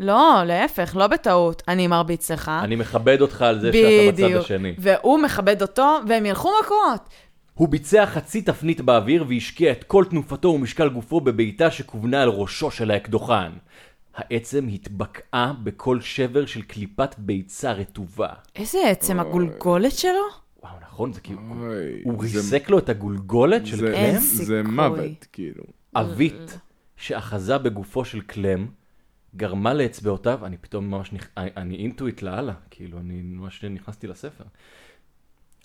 [SPEAKER 2] לא, להפך, לא בטעות. אני מרביץ לך.
[SPEAKER 1] אני מכבד אותך על זה שאתה בצד
[SPEAKER 2] בדיוק.
[SPEAKER 1] השני.
[SPEAKER 2] והוא מכבד אותו, והם ילכו מכות.
[SPEAKER 1] הוא ביצע חצי תפנית באוויר והשקיע את כל תנופתו ומשקל גופו בבעיטה שכוונה על ראשו של האקדוחן. העצם התבקעה בכל שבר של קליפת ביצה רטובה.
[SPEAKER 2] איזה עצם הגולגולת שלו?
[SPEAKER 1] וואו, נכון, זה כאילו...
[SPEAKER 3] אוי,
[SPEAKER 1] הוא
[SPEAKER 3] אה, זה-
[SPEAKER 1] ריסק לו את הגולגולת של
[SPEAKER 3] זה-
[SPEAKER 1] קלם?
[SPEAKER 2] איזה
[SPEAKER 3] זה
[SPEAKER 2] סיכוי.
[SPEAKER 3] מוות, כאילו.
[SPEAKER 1] עווית שאחזה בגופו של קלם, גרמה לאצבעותיו, אני פתאום ממש, נכ... אני, אני אינטואיט לאללה, כאילו, אני ממש נכנסתי לספר.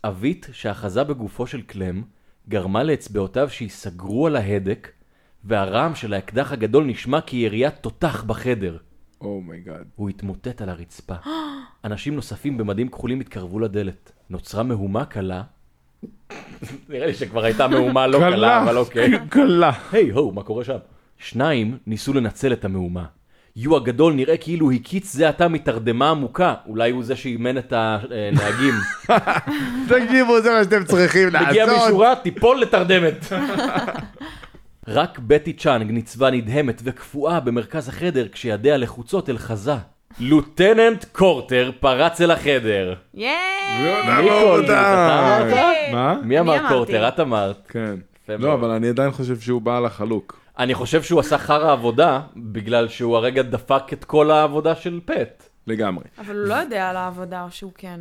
[SPEAKER 1] עווית שאחזה בגופו של קלם, גרמה לאצבעותיו שייסגרו על ההדק, והרעם של האקדח הגדול נשמע כיריית תותח בחדר.
[SPEAKER 3] אומייגאד.
[SPEAKER 1] הוא התמוטט על הרצפה. אנשים נוספים במדים כחולים התקרבו לדלת. נוצרה מהומה קלה. נראה לי שכבר הייתה מהומה לא קלה, אבל אוקיי.
[SPEAKER 3] קלה.
[SPEAKER 1] היי הו, מה קורה שם? שניים ניסו לנצל את המהומה. יו הגדול נראה כאילו הקיץ זה עתה מתרדמה עמוקה, אולי הוא זה שאימן את הנהגים.
[SPEAKER 3] תקשיבו, זה מה שאתם צריכים
[SPEAKER 1] מגיע
[SPEAKER 3] לעשות.
[SPEAKER 1] משורה, תיפול לתרדמת. רק בטי צ'אנג ניצבה נדהמת וקפואה במרכז החדר כשידיה לחוצות אל חזה. לוטננט קורטר פרץ אל החדר.
[SPEAKER 3] לא,
[SPEAKER 2] ייי!
[SPEAKER 1] ניקול,
[SPEAKER 3] נעבור
[SPEAKER 1] אתה
[SPEAKER 3] אותה.
[SPEAKER 2] אמרת?
[SPEAKER 3] מה?
[SPEAKER 1] מי אמר
[SPEAKER 2] אמרתי.
[SPEAKER 1] קורטר? את אמרת.
[SPEAKER 3] כן.
[SPEAKER 1] יפה
[SPEAKER 3] לא,
[SPEAKER 1] מאוד.
[SPEAKER 3] אבל אני עדיין חושב שהוא בעל החלוק.
[SPEAKER 1] אני חושב שהוא עשה חרא עבודה, בגלל שהוא הרגע דפק את כל העבודה של פט.
[SPEAKER 3] לגמרי.
[SPEAKER 2] אבל הוא לא יודע על העבודה, או שהוא כן.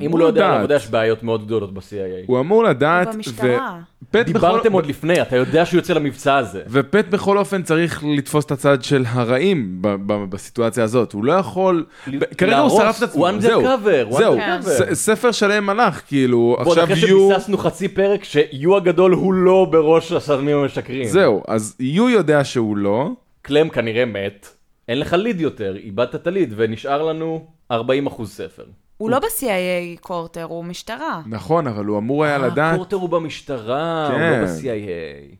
[SPEAKER 1] אם הוא לא יודע על
[SPEAKER 3] לדעת.
[SPEAKER 1] העבודה, יש בעיות מאוד גדולות ב-CIA.
[SPEAKER 3] הוא אמור לדעת,
[SPEAKER 2] הוא במשטרה.
[SPEAKER 3] ופט
[SPEAKER 1] דיברתם
[SPEAKER 3] בכל-
[SPEAKER 1] עוד לפני, אתה יודע שהוא יוצא למבצע הזה.
[SPEAKER 3] ופט בכל אופן צריך לתפוס את הצד של הרעים ב- ב- בסיטואציה הזאת, הוא לא יכול...
[SPEAKER 1] ל-
[SPEAKER 3] ב- כרגע הוא
[SPEAKER 1] להרוס,
[SPEAKER 3] שרף את עצמו,
[SPEAKER 1] הוא
[SPEAKER 3] זהו.
[SPEAKER 1] undercover, הוא
[SPEAKER 3] זהו,
[SPEAKER 1] undercover.
[SPEAKER 3] ס- ספר שלם הלך, כאילו,
[SPEAKER 1] בוא,
[SPEAKER 3] עכשיו
[SPEAKER 1] אחרי
[SPEAKER 3] יהיו...
[SPEAKER 1] שביססנו חצי פרק שיו הגדול הוא לא בראש הסמים המשקרים.
[SPEAKER 3] זהו, אז יו יודע שהוא לא,
[SPEAKER 1] קלם כנראה מת, אין לך ליד יותר, איבדת את הליד, ונשאר לנו 40 אחוז ספר.
[SPEAKER 2] הוא לא ב-CIA קורטר, הוא משטרה.
[SPEAKER 3] נכון, אבל הוא אמור
[SPEAKER 1] אה,
[SPEAKER 3] היה לדעת,
[SPEAKER 1] הקורטר הוא במשטרה, הוא
[SPEAKER 3] כן.
[SPEAKER 1] לא ב-CIA.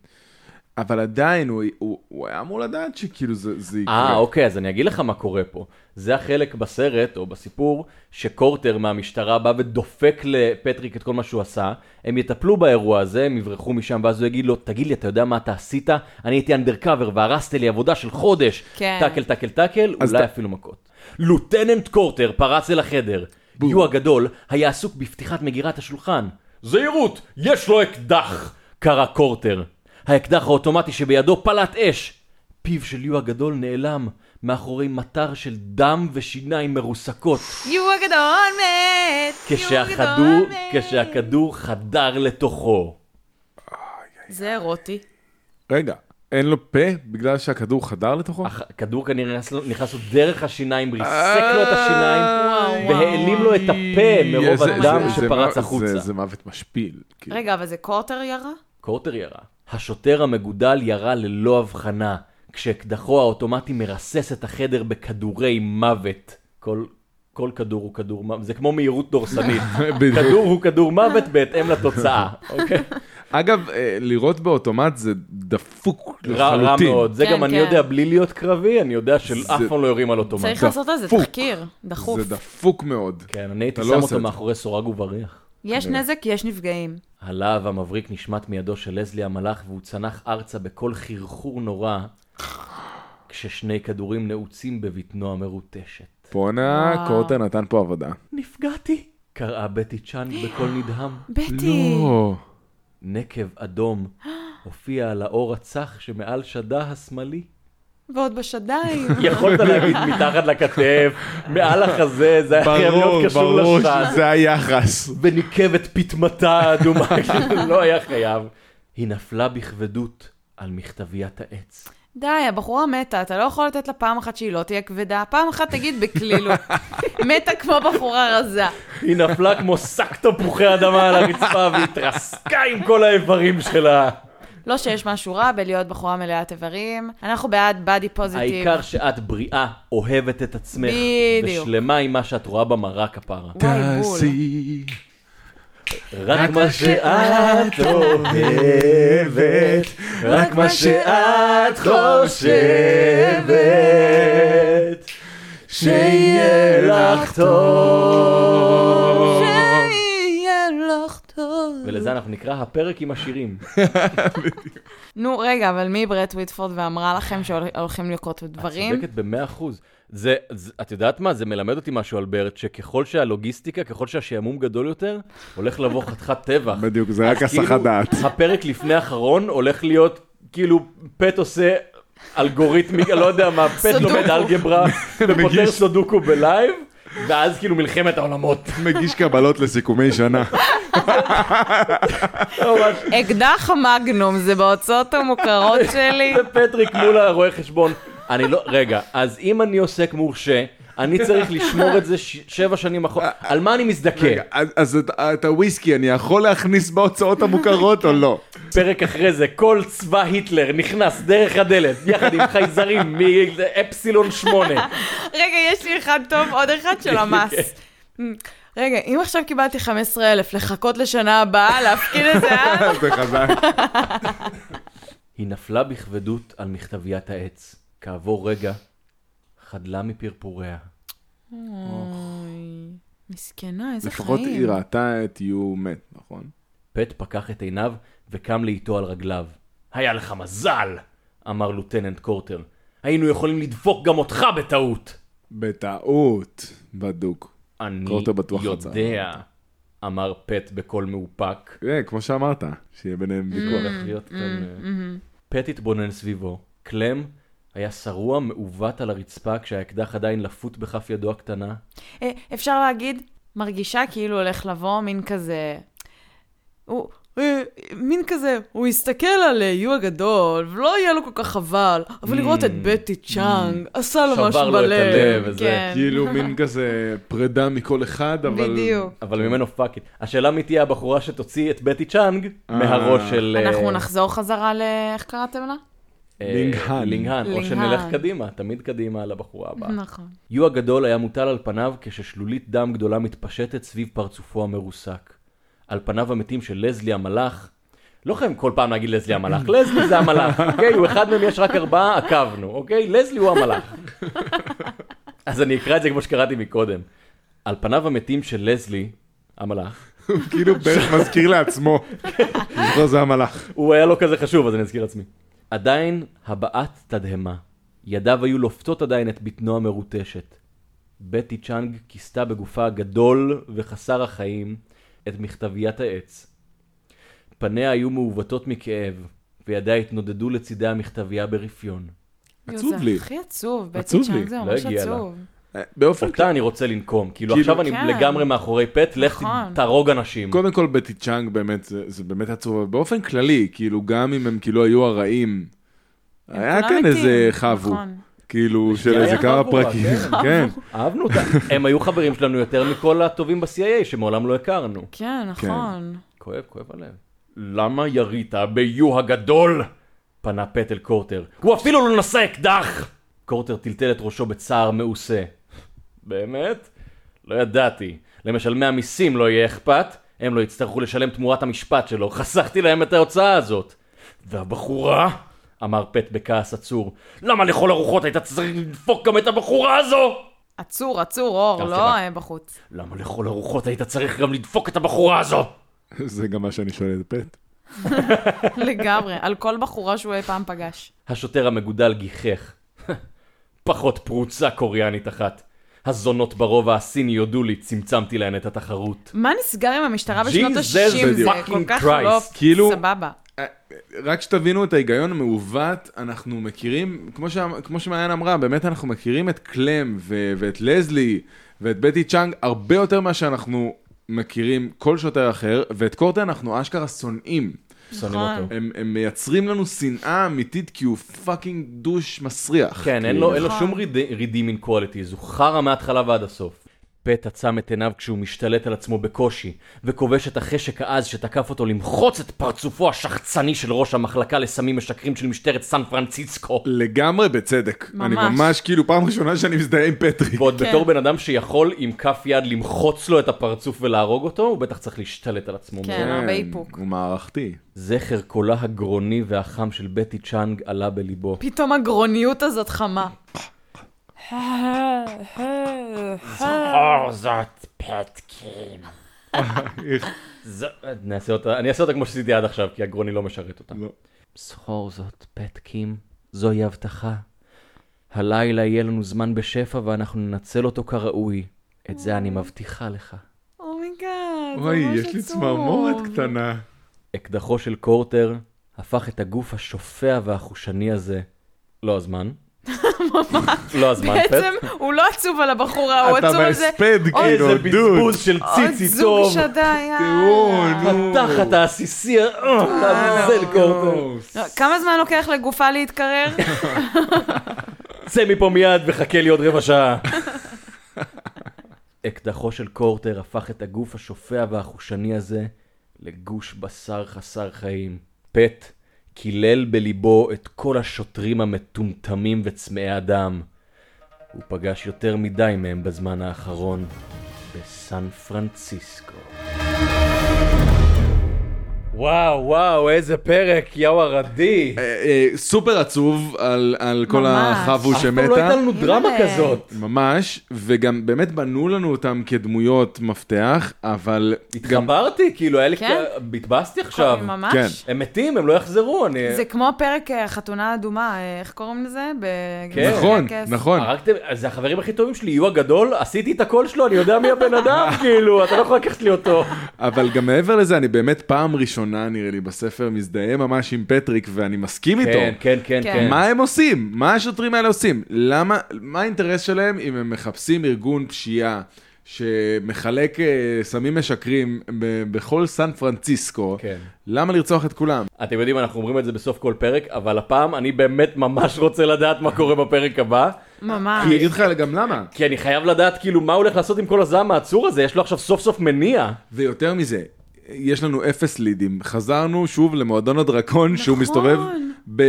[SPEAKER 3] אבל עדיין הוא- הוא הוא היה אמור לדעת שכאילו זה זה
[SPEAKER 1] אה,
[SPEAKER 3] יקרה.
[SPEAKER 1] אוקיי, אז אני אגיד לך מה קורה פה. זה החלק בסרט, או בסיפור, שקורטר מהמשטרה בא ודופק לפטריק את כל מה שהוא עשה. הם יטפלו באירוע הזה, הם יברחו משם, ואז הוא יגיד לו, תגיד לי, אתה יודע מה אתה עשית? אני הייתי אנדרקאבר והרסת לי עבודה של חודש.
[SPEAKER 2] כן.
[SPEAKER 1] טאקל, טאקל, טאקל,
[SPEAKER 3] אז
[SPEAKER 1] אולי
[SPEAKER 3] ת-
[SPEAKER 1] אפילו מכות. לוטננט קורטר פרץ אל החדר. יו הגדול היה עסוק בפתיחת מגירת השולחן. זהירות, יש לו אקדח! קרא קורטר. האקדח האוטומטי שבידו פלט אש. פיו של יו הגדול נעלם מאחורי מטר של דם ושיניים מרוסקות
[SPEAKER 2] יו הגדול מת! יו
[SPEAKER 1] כשהכדור,
[SPEAKER 2] הגדול מת.
[SPEAKER 1] כשהכדור חדר לתוכו.
[SPEAKER 2] זה אירוטי.
[SPEAKER 3] רגע, אין לו פה בגלל שהכדור חדר לתוכו?
[SPEAKER 1] הח- הכדור כנראה נכנס לו- נכנס לו דרך השיניים, ריסק לו את השיניים.
[SPEAKER 2] אה, וואו, וואו.
[SPEAKER 1] והעלים לו את הפה מרוב
[SPEAKER 3] איזה-
[SPEAKER 1] הדם
[SPEAKER 3] זה- זה
[SPEAKER 1] שפרץ
[SPEAKER 3] מוות-
[SPEAKER 1] החוצה.
[SPEAKER 3] זה- זה מוות משפיל. כאילו.
[SPEAKER 2] רגע, אבל זה קורטר ירה?
[SPEAKER 1] קורטר ירה. השוטר המגודל ירה ללא הבחנה, כשאקדחו האוטומטי מרסס את החדר בכדורי מוות. כל, כל כדור הוא כדור מוות, זה כמו מהירות דורסנית.
[SPEAKER 3] בדיוק.
[SPEAKER 1] כדור הוא כדור מוות בהתאם לתוצאה, אוקיי?
[SPEAKER 3] אגב, אה, לירות באוטומט זה דפוק
[SPEAKER 1] רע, רע
[SPEAKER 3] לחלוטין.
[SPEAKER 1] מאוד. זה
[SPEAKER 2] כן,
[SPEAKER 1] גם אני
[SPEAKER 2] כן.
[SPEAKER 1] יודע בלי להיות קרבי, אני יודע שאף
[SPEAKER 3] זה-
[SPEAKER 1] פעם לא יורים על אוטומט.
[SPEAKER 2] צריך לעשות על זה
[SPEAKER 3] דפוק.
[SPEAKER 2] תחקיר, דחוף.
[SPEAKER 3] זה דפוק מאוד.
[SPEAKER 1] כן, אני הייתי שם
[SPEAKER 3] אתה לא עושה
[SPEAKER 1] אותו
[SPEAKER 3] את זה.
[SPEAKER 1] מאחורי סורג ובריח.
[SPEAKER 2] יש נזק, יש נפגעים.
[SPEAKER 1] הלהב המבריק נשמט מידו של לזלי המלאך והוא צנח ארצה בקול חרחור נורא כששני כדורים נעוצים בבטנו המרוטשת.
[SPEAKER 3] בואנה,
[SPEAKER 2] וואו.
[SPEAKER 3] קורטר נתן פה עבודה.
[SPEAKER 1] נפגעתי! קראה בטי צ'אנג בקול נדהם.
[SPEAKER 2] בטי!
[SPEAKER 3] לא.
[SPEAKER 1] נקב אדום הופיע על האור הצח שמעל שדה השמאלי.
[SPEAKER 2] ועוד בשדיים.
[SPEAKER 1] יכולת להגיד מתחת לכתף, מעל החזה, זה היה חייב
[SPEAKER 3] ברור,
[SPEAKER 1] להיות לא קשור
[SPEAKER 3] ברור
[SPEAKER 1] לשד.
[SPEAKER 3] שזה היחס.
[SPEAKER 1] וניקב את פיטמתה האדומה, כאילו, לא היה חייב. היא נפלה בכבדות על מכתביית העץ.
[SPEAKER 2] די, הבחורה מתה, אתה לא יכול לתת לה פעם אחת שהיא לא תהיה כבדה, פעם אחת תגיד בקלילות. מתה כמו בחורה רזה.
[SPEAKER 1] היא נפלה כמו שק תפוחי אדמה על הרצפה והתרסקה עם כל האיברים שלה.
[SPEAKER 2] לא שיש משהו רע בלהיות בחורה מלאת איברים. אנחנו בעד באדי פוזיטיב.
[SPEAKER 1] העיקר שאת בריאה, אוהבת את עצמך,
[SPEAKER 2] בדיוק.
[SPEAKER 1] ושלמה עם מה שאת רואה במראה כפרה.
[SPEAKER 2] וואי, בול.
[SPEAKER 1] רק מה שאת אוהבת, רק מה שאת חושבת, שיהיה לך טוב.
[SPEAKER 2] שיהיה לך טוב.
[SPEAKER 1] ולזה אנחנו נקרא הפרק עם השירים.
[SPEAKER 2] נו, רגע, אבל מי ברט וויטפורד ואמרה לכם שהולכים לקרות דברים?
[SPEAKER 1] צודקת במאה אחוז. זה, זה, את יודעת מה? זה מלמד אותי משהו, אלברט, שככל שהלוגיסטיקה, ככל שהשעמום גדול יותר, הולך לבוא חתיכת טבח.
[SPEAKER 3] בדיוק, זה רק
[SPEAKER 1] אז כאילו,
[SPEAKER 3] הסחת דעת.
[SPEAKER 1] הפרק לפני האחרון הולך להיות, כאילו, פט עושה אלגוריתמי, לא יודע מה, פט
[SPEAKER 2] סודוקו.
[SPEAKER 1] לומד אלגברה ופותר
[SPEAKER 3] מגיש.
[SPEAKER 1] סודוקו בלייב, ואז כאילו מלחמת העולמות.
[SPEAKER 3] מגיש קבלות לסיכומי שנה.
[SPEAKER 1] כן. ממש.
[SPEAKER 2] אקדח המגנום זה בהוצאות המוכרות שלי.
[SPEAKER 1] זה פטריק מול הרואה חשבון. אני לא, רגע, אז אם אני עוסק מורשה, אני צריך לשמור את זה ש- שבע שנים אחורה, על מה אני מזדכה?
[SPEAKER 3] רגע, אז- אז את- את הוויסקי אני יכול להכניס בהוצאות המוכרות או לא?
[SPEAKER 1] פרק אחרי זה, כל צבא היטלר נכנס דרך הדלת, יחד עם חייזרים מאפסילון 8.
[SPEAKER 2] רגע, יש לי אחד טוב, עוד אחד של המס. Mm. רגע, אם עכשיו קיבלתי 15,000, לחכות לשנה הבאה, להפקיד את זה, אה?
[SPEAKER 3] זה חזק.
[SPEAKER 1] היא נפלה בכבדות על מכתביית העץ. כעבור רגע, חדלה מפרפוריה.
[SPEAKER 2] אוי, מסכנה, איזה חיים.
[SPEAKER 3] לפחות היא ראתה את יו מת, נכון?
[SPEAKER 1] פט פקח את עיניו וקם לאיטו על רגליו. היה לך מזל! אמר לוטננט קורטר. היינו יכולים לדפוק גם אותך בטעות!
[SPEAKER 3] בטעות, בדוק.
[SPEAKER 1] אני
[SPEAKER 3] קורטר בטוח רצה.
[SPEAKER 1] יודע, אמר פט בקול מאופק.
[SPEAKER 3] אה, כמו שאמרת, שיהיה
[SPEAKER 2] Mm,
[SPEAKER 3] ביניהם ויכוח.
[SPEAKER 1] הולך להיות כאן... אה, פט התבונן סביבו. קלם היה שרוע מעוות על הרצפה כשהאקדח עדיין לפות בכף ידו הקטנה.
[SPEAKER 2] אה, אפשר להגיד, מרגישה כאילו הולך לבוא מין כזה... הוא... אה, מין כזה, הוא יסתכל על אה, יו הגדול, ולא יהיה לו כל כך חבל, אבל לראות את
[SPEAKER 3] Mm,
[SPEAKER 2] בטי צ'אנג, עשה לו
[SPEAKER 1] שבר
[SPEAKER 2] משהו
[SPEAKER 1] לו את
[SPEAKER 2] בלב.
[SPEAKER 1] הלב וזה.
[SPEAKER 2] כן.
[SPEAKER 3] כאילו מין כזה פרידה מכל אחד, אבל...
[SPEAKER 2] בדיוק.
[SPEAKER 1] אבל ממנו פאק איט. השאלה מי תהיה הבחורה שתוציא את בטי צ'אנג מהראש של... אה,
[SPEAKER 2] אנחנו נחזור חזרה ל... איך קראתם לה?
[SPEAKER 1] אה,
[SPEAKER 3] לינגהן.
[SPEAKER 1] לינגהן, או
[SPEAKER 2] לינגהן.
[SPEAKER 1] שנלך קדימה, תמיד קדימה על הבחורה הבאה.
[SPEAKER 2] נכון.
[SPEAKER 1] יו הגדול היה מוטל על פניו כששלולית דם גדולה מתפשטת סביב פרצופו המרוסק. על פניו המתים של לזלי המלאך, לא חייבים כל פעם להגיד לזלי המלאך, לזלי זה המלאך, אוקיי? הוא אחד מהם, יש רק ארבעה, עקבנו, אוקיי? לזלי הוא המלאך. אז אני אקרא את זה כמו שקראתי מקודם. על פניו המתים של לזלי, המלאך,
[SPEAKER 3] הוא כאילו בערך מזכיר לעצמו. זוכר זה המלאך.
[SPEAKER 1] הוא היה לו כזה חשוב, אז אני אזכיר לעצמי. עדיין הבעת תדהמה. ידיו היו לופתות עדיין את בטנו המרוטשת. בטי צ'אנג כיסתה בגופה הגדול וחסר החיים את מכתביית העץ. פניה היו מעוותות מכאב, וידיה התנודדו לצידי המכתבייה ברפיון.
[SPEAKER 3] עצוב
[SPEAKER 2] יו,
[SPEAKER 3] לי.
[SPEAKER 2] זה הכי עצוב, בטי
[SPEAKER 3] עצוב
[SPEAKER 2] צ'אנג
[SPEAKER 3] לי.
[SPEAKER 2] זה
[SPEAKER 1] לא
[SPEAKER 2] ממש
[SPEAKER 1] הגיע לה.
[SPEAKER 2] עצוב.
[SPEAKER 3] אה, באופן כללי,
[SPEAKER 1] אותה אני רוצה לנקום, כאילו
[SPEAKER 3] כאילו-
[SPEAKER 1] עכשיו אני
[SPEAKER 2] כן.
[SPEAKER 1] לגמרי מאחורי פט, לך
[SPEAKER 2] נכון.
[SPEAKER 1] תהרוג אנשים.
[SPEAKER 3] קודם כל בטי צ'אנג באמת, זה זה באמת עצוב, אבל באופן כללי, כאילו גם אם הם כאילו היו הרעים,
[SPEAKER 2] הם
[SPEAKER 3] היה
[SPEAKER 2] כולם
[SPEAKER 3] כאן
[SPEAKER 2] מתים,
[SPEAKER 3] איזה חבו,
[SPEAKER 2] נכון.
[SPEAKER 3] כאילו של
[SPEAKER 1] היה
[SPEAKER 3] איזה כמה
[SPEAKER 1] חבורה,
[SPEAKER 3] פרקים,
[SPEAKER 1] כן.
[SPEAKER 3] כן.
[SPEAKER 1] אהבנו אותה, הם היו חברים שלנו יותר מכל הטובים ב-CIA שמעולם לא הכרנו.
[SPEAKER 2] כן, נכון.
[SPEAKER 1] כואב, כואב הלב. למה ירית ביו הגדול? פנה פט אל קורטר. הוא אפילו לא נשא אקדח! קורטר טלטל את ראשו בצער מעושה. באמת? לא ידעתי. למשלמי המיסים לא יהיה אכפת, הם לא יצטרכו לשלם תמורת המשפט שלו, חסכתי להם את ההוצאה הזאת. והבחורה? אמר פט בכעס עצור. למה לכל הרוחות היית צריך לדפוק גם את הבחורה הזו?
[SPEAKER 2] עצור, עצור, אור,
[SPEAKER 3] אוקיי,
[SPEAKER 1] טוב,
[SPEAKER 2] לא
[SPEAKER 1] סליחה.
[SPEAKER 2] אה, בחוץ.
[SPEAKER 1] למה לכל הרוחות היית צריך גם לדפוק את הבחורה הזו?
[SPEAKER 3] זה גם מה שאני שואל את פט.
[SPEAKER 2] לגמרי, על כל בחורה שהוא אי פעם פגש.
[SPEAKER 1] השוטר המגודל גיחך. פחות פרוצה קוריאנית אחת. הזונות ברובע הסיני יודו לי, צמצמתי להן את התחרות.
[SPEAKER 2] מה נסגר עם המשטרה בשנות
[SPEAKER 1] Jesus
[SPEAKER 2] ה-60? זה
[SPEAKER 1] fucking
[SPEAKER 2] כל כך
[SPEAKER 1] Christ.
[SPEAKER 2] לא
[SPEAKER 3] כאילו-
[SPEAKER 2] סבבה.
[SPEAKER 3] רק שתבינו את ההיגיון המעוות, אנחנו מכירים, כמו, ש... כמו שמעיין אמרה, באמת אנחנו מכירים את קלם ו... ואת לזלי ואת בטי צ'אנג הרבה יותר ממה שאנחנו מכירים כל שוטר אחר, ואת קורטה אנחנו אשכרה שונאים.
[SPEAKER 1] שונאים
[SPEAKER 2] נכון.
[SPEAKER 1] אותו.
[SPEAKER 3] הם, הם מייצרים לנו שנאה אמיתית כי הוא פאקינג דוש מסריח.
[SPEAKER 1] כן, אין
[SPEAKER 3] כאילו.
[SPEAKER 1] לו, אין לו
[SPEAKER 2] נכון.
[SPEAKER 1] שום redeeming qualities, הוא חרא מההתחלה ועד הסוף. פט עצם את עיניו כשהוא משתלט על עצמו בקושי, וכובש את החשק העז שתקף אותו למחוץ את פרצופו השחצני של ראש המחלקה לסמים משקרים של משטרת סן פרנסיסקו.
[SPEAKER 3] לגמרי בצדק.
[SPEAKER 2] ממש.
[SPEAKER 3] אני ממש כאילו פעם ראשונה שאני מזדהה עם פטריק.
[SPEAKER 1] ועוד
[SPEAKER 2] כן.
[SPEAKER 1] בתור בן אדם שיכול עם כף יד למחוץ לו את הפרצוף ולהרוג אותו, הוא בטח צריך להשתלט על עצמו.
[SPEAKER 2] כן.
[SPEAKER 1] מאוד.
[SPEAKER 2] הרבה איפוק.
[SPEAKER 3] הוא מערכתי.
[SPEAKER 1] זכר קולה הגרוני והחם של בטי צ'אנג עלה בליבו.
[SPEAKER 2] פתאום הגרוניות הזאת חמה. Oh
[SPEAKER 1] או, זאת פטקין. זו- נעשה אותה, אני אעשה אותה כמו שעשיתי עד עכשיו, כי הגרוני לא משרת אותה.
[SPEAKER 3] לא.
[SPEAKER 1] זכור זאת, פטקים, זוהי הבטחה. הלילה יהיה לנו זמן בשפע ואנחנו ננצל אותו כראוי. את זה אני מבטיחה לך.
[SPEAKER 2] אומייגאד,
[SPEAKER 3] אוי, יש לי צמרמורת קטנה.
[SPEAKER 1] אקדחו של קורטר הפך את הגוף השופע והחושני הזה. לא הזמן. לא הזמן, פט.
[SPEAKER 2] בעצם הוא לא עצוב על הבחורה, הוא
[SPEAKER 3] אתה
[SPEAKER 2] עצוב על זה.
[SPEAKER 3] בהספד, כאילו,
[SPEAKER 1] איזה
[SPEAKER 3] דוד.
[SPEAKER 1] בזבוז של
[SPEAKER 2] עוד
[SPEAKER 1] ציצי
[SPEAKER 2] זוג
[SPEAKER 1] טוב.
[SPEAKER 2] שדי, אה.
[SPEAKER 3] טיעון,
[SPEAKER 2] יאללה.
[SPEAKER 3] אה, נו.
[SPEAKER 1] התחת העסיסי, אה, לעזאזל קורטר.
[SPEAKER 3] יואו,
[SPEAKER 2] לא, כמה זמן לוקח לגופה להתקרר?
[SPEAKER 1] צא מפה מיד וחכה לי עוד רבע שעה. אקדחו של קורטר הפך את הגוף השופע והחושני הזה לגוש בשר חסר חיים. פט קילל בליבו את כל השוטרים המטומטמים וצמאי הדם. הוא פגש יותר מדי מהם בזמן האחרון בסן פרנסיסקו. וואו, וואו, איזה פרק, יאו ערדי.
[SPEAKER 3] אה, אה, סופר עצוב על- על כל
[SPEAKER 2] ממש.
[SPEAKER 3] החבו
[SPEAKER 1] אף פעם לא
[SPEAKER 3] שמתה.
[SPEAKER 1] הייתה לנו דרמה
[SPEAKER 2] הנה.
[SPEAKER 1] כזאת.
[SPEAKER 3] ממש, וגם באמת בנו לנו אותם כדמויות מפתח, אבל גם...
[SPEAKER 1] התחברתי, כאילו, היה לי...
[SPEAKER 2] כן?
[SPEAKER 1] התבאסתי עכשיו.
[SPEAKER 2] ממש?
[SPEAKER 3] כן.
[SPEAKER 1] הם מתים, הם לא יחזרו, אני...
[SPEAKER 2] זה כמו פרק אה, חתונה אדומה, אה, איך קוראים לזה? ב-
[SPEAKER 1] כן.
[SPEAKER 3] נכון,
[SPEAKER 2] בטקס.
[SPEAKER 3] נכון.
[SPEAKER 1] הרגתם, זה החברים הכי טובים שלי, יהיו הגדול, עשיתי את הקול שלו, אני יודע מי הבן אדם, כאילו, אתה לא יכול לקחת לי אותו.
[SPEAKER 3] אבל גם מעבר לזה, אני באמת פעם ראשונה, נראה לי, בספר מזדהה ממש עם פטריק, ואני מסכים איתו.
[SPEAKER 1] כן, כן, כן, כן.
[SPEAKER 2] כן.
[SPEAKER 3] מה הם עושים? מה השוטרים האלה עושים? למה, מה האינטרס שלהם אם הם מחפשים ארגון פשיעה שמחלק אה, סמים משקרים ב- בכל סן פרנסיסקו?
[SPEAKER 1] כן. אה,
[SPEAKER 3] למה לרצוח את כולם?
[SPEAKER 1] אתם יודעים, אנחנו אומרים את זה בסוף כל פרק, אבל הפעם אני באמת ממש רוצה לדעת מה קורה בפרק הבא,
[SPEAKER 2] ממש.
[SPEAKER 3] אני אגיד
[SPEAKER 1] אה,
[SPEAKER 3] לך גם למה.
[SPEAKER 1] כי אני חייב לדעת כאילו מה הוא הולך לעשות עם כל הזעם העצור הזה, יש לו עכשיו סוף סוף מניע.
[SPEAKER 3] ויותר מזה, יש לנו אפס לידים. חזרנו שוב למועדון הדרקון, נכון. שהוא מסתובב ב...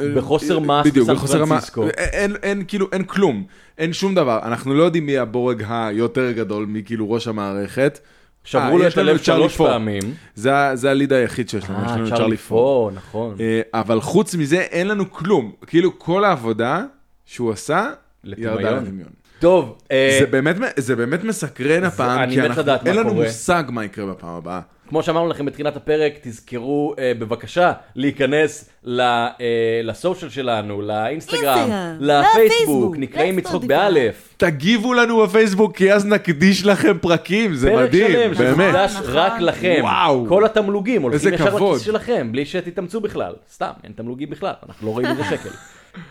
[SPEAKER 3] אה,
[SPEAKER 1] בחוסר מעש
[SPEAKER 3] בדיוק,
[SPEAKER 1] בסן
[SPEAKER 3] בחוסר המעש.
[SPEAKER 1] פרנסיסקו.
[SPEAKER 3] אין, אין, כאילו, אין כלום. אין שום דבר. אנחנו לא יודעים מי הבורג היותר גדול מכאילו ראש המערכת.
[SPEAKER 1] שברו
[SPEAKER 3] אה,
[SPEAKER 1] לו
[SPEAKER 3] יש
[SPEAKER 1] את
[SPEAKER 3] לנו
[SPEAKER 1] הלב
[SPEAKER 3] צ'רלי
[SPEAKER 1] שלוש
[SPEAKER 3] פור.
[SPEAKER 1] פעמים.
[SPEAKER 3] זה, ה- זה הליד היחיד שיש לנו, יש לנו
[SPEAKER 1] אה,
[SPEAKER 3] את
[SPEAKER 1] צ'רלי פור, נכון.
[SPEAKER 3] אה, אבל חוץ מזה, אין לנו כלום. כאילו, כל העבודה שהוא עשה,
[SPEAKER 1] לטמיון.
[SPEAKER 3] ירדה לטמיון.
[SPEAKER 1] טוב, אה,
[SPEAKER 3] זה באמת, זה באמת מסקרן הפעם,
[SPEAKER 1] אני
[SPEAKER 3] כי
[SPEAKER 1] מת
[SPEAKER 3] אנחנו,
[SPEAKER 1] לדעת מה
[SPEAKER 3] אין לנו
[SPEAKER 1] קורה.
[SPEAKER 3] מושג מה יקרה בפעם הבאה.
[SPEAKER 1] כמו שאמרנו לכם בתחילת הפרק, תזכרו אה, בבקשה להיכנס ל, אה, לסושיאל שלנו, לאינסטגרם,
[SPEAKER 2] אינסטגרם,
[SPEAKER 1] לפייסבוק,
[SPEAKER 2] לפייסבוק,
[SPEAKER 1] נקראים מצחוק
[SPEAKER 2] לספוטיפיי.
[SPEAKER 1] באלף.
[SPEAKER 3] תגיבו לנו בפייסבוק, כי אז נקדיש לכם פרקים, זה
[SPEAKER 1] פרק
[SPEAKER 3] מדהים,
[SPEAKER 1] שלם
[SPEAKER 3] באמת.
[SPEAKER 1] שמוקדש
[SPEAKER 2] נכון.
[SPEAKER 1] רק לכם.
[SPEAKER 3] וואו.
[SPEAKER 1] כל התמלוגים
[SPEAKER 3] איזה
[SPEAKER 1] הולכים ישר
[SPEAKER 3] כבוד.
[SPEAKER 1] לכיס שלכם, בלי שתתאמצו בכלל. סתם, אין תמלוגים בכלל, אנחנו לא רואים מזה שקל.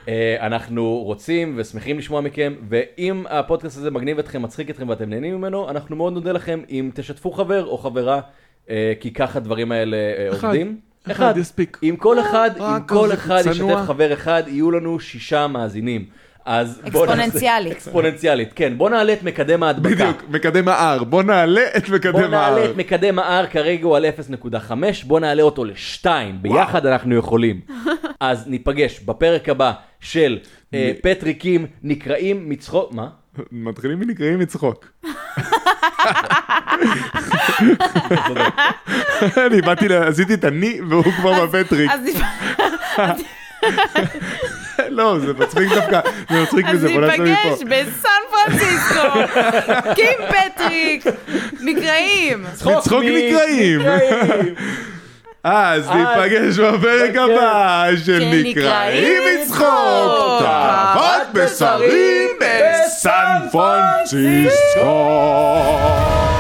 [SPEAKER 1] אה, אנחנו רוצים ושמחים לשמוע מכם, ואם הפודקאסט הזה מגניב אתכם, מצחיק אתכם ואתם נהנים ממנו, אנחנו מאוד נודה לכם אם תשתפו חבר או חברה, אה, כי ככה הדברים האלה אה,
[SPEAKER 3] אחד.
[SPEAKER 1] עובדים.
[SPEAKER 3] אחד יספיק.
[SPEAKER 1] אם כל אחד,
[SPEAKER 3] רק
[SPEAKER 1] אם כל
[SPEAKER 3] כזה
[SPEAKER 1] אחד ישתף
[SPEAKER 3] צנוע.
[SPEAKER 1] חבר אחד, יהיו לנו שישה מאזינים. אז בוא נעשה-
[SPEAKER 2] אקספוננציאלית.
[SPEAKER 1] אקספוננציאלית, כן. בוא נעלה את מקדם ההדבקה.
[SPEAKER 3] בדיוק, מקדם ה-R, בוא נעלה את
[SPEAKER 1] בוא
[SPEAKER 3] מקדם
[SPEAKER 1] נעלה את
[SPEAKER 3] ה-R.
[SPEAKER 1] מקדם ה-R כרגע הוא על 0.5, בוא נעלה אותו ל-2, ביחד אנחנו יכולים. אז ניפגש בפרק הבא של אה, פטריקים נקראים מצחוק, מה?
[SPEAKER 3] מתחילים מנקראים מצחוק. אני באתי, לה- עשיתי את אני והוא כבר בפטריק.
[SPEAKER 2] אז
[SPEAKER 3] לא, זה מצחיק דווקא, זה מצחיק
[SPEAKER 2] אז
[SPEAKER 3] מזה, בוא נעשה
[SPEAKER 2] ניפגש
[SPEAKER 3] מפה.
[SPEAKER 2] בסן פרנסיסקו, קים פטריק, נקראים.
[SPEAKER 3] מצחוק
[SPEAKER 1] מי-
[SPEAKER 3] נקראים. אה,
[SPEAKER 1] נקראים.
[SPEAKER 3] אז ניפגש בפרק הבא של
[SPEAKER 2] כן,
[SPEAKER 3] נקראים
[SPEAKER 2] נקראים
[SPEAKER 3] מצחוק,
[SPEAKER 2] מצחוק.
[SPEAKER 3] תאוות בשרים בסן פרנסיסקו.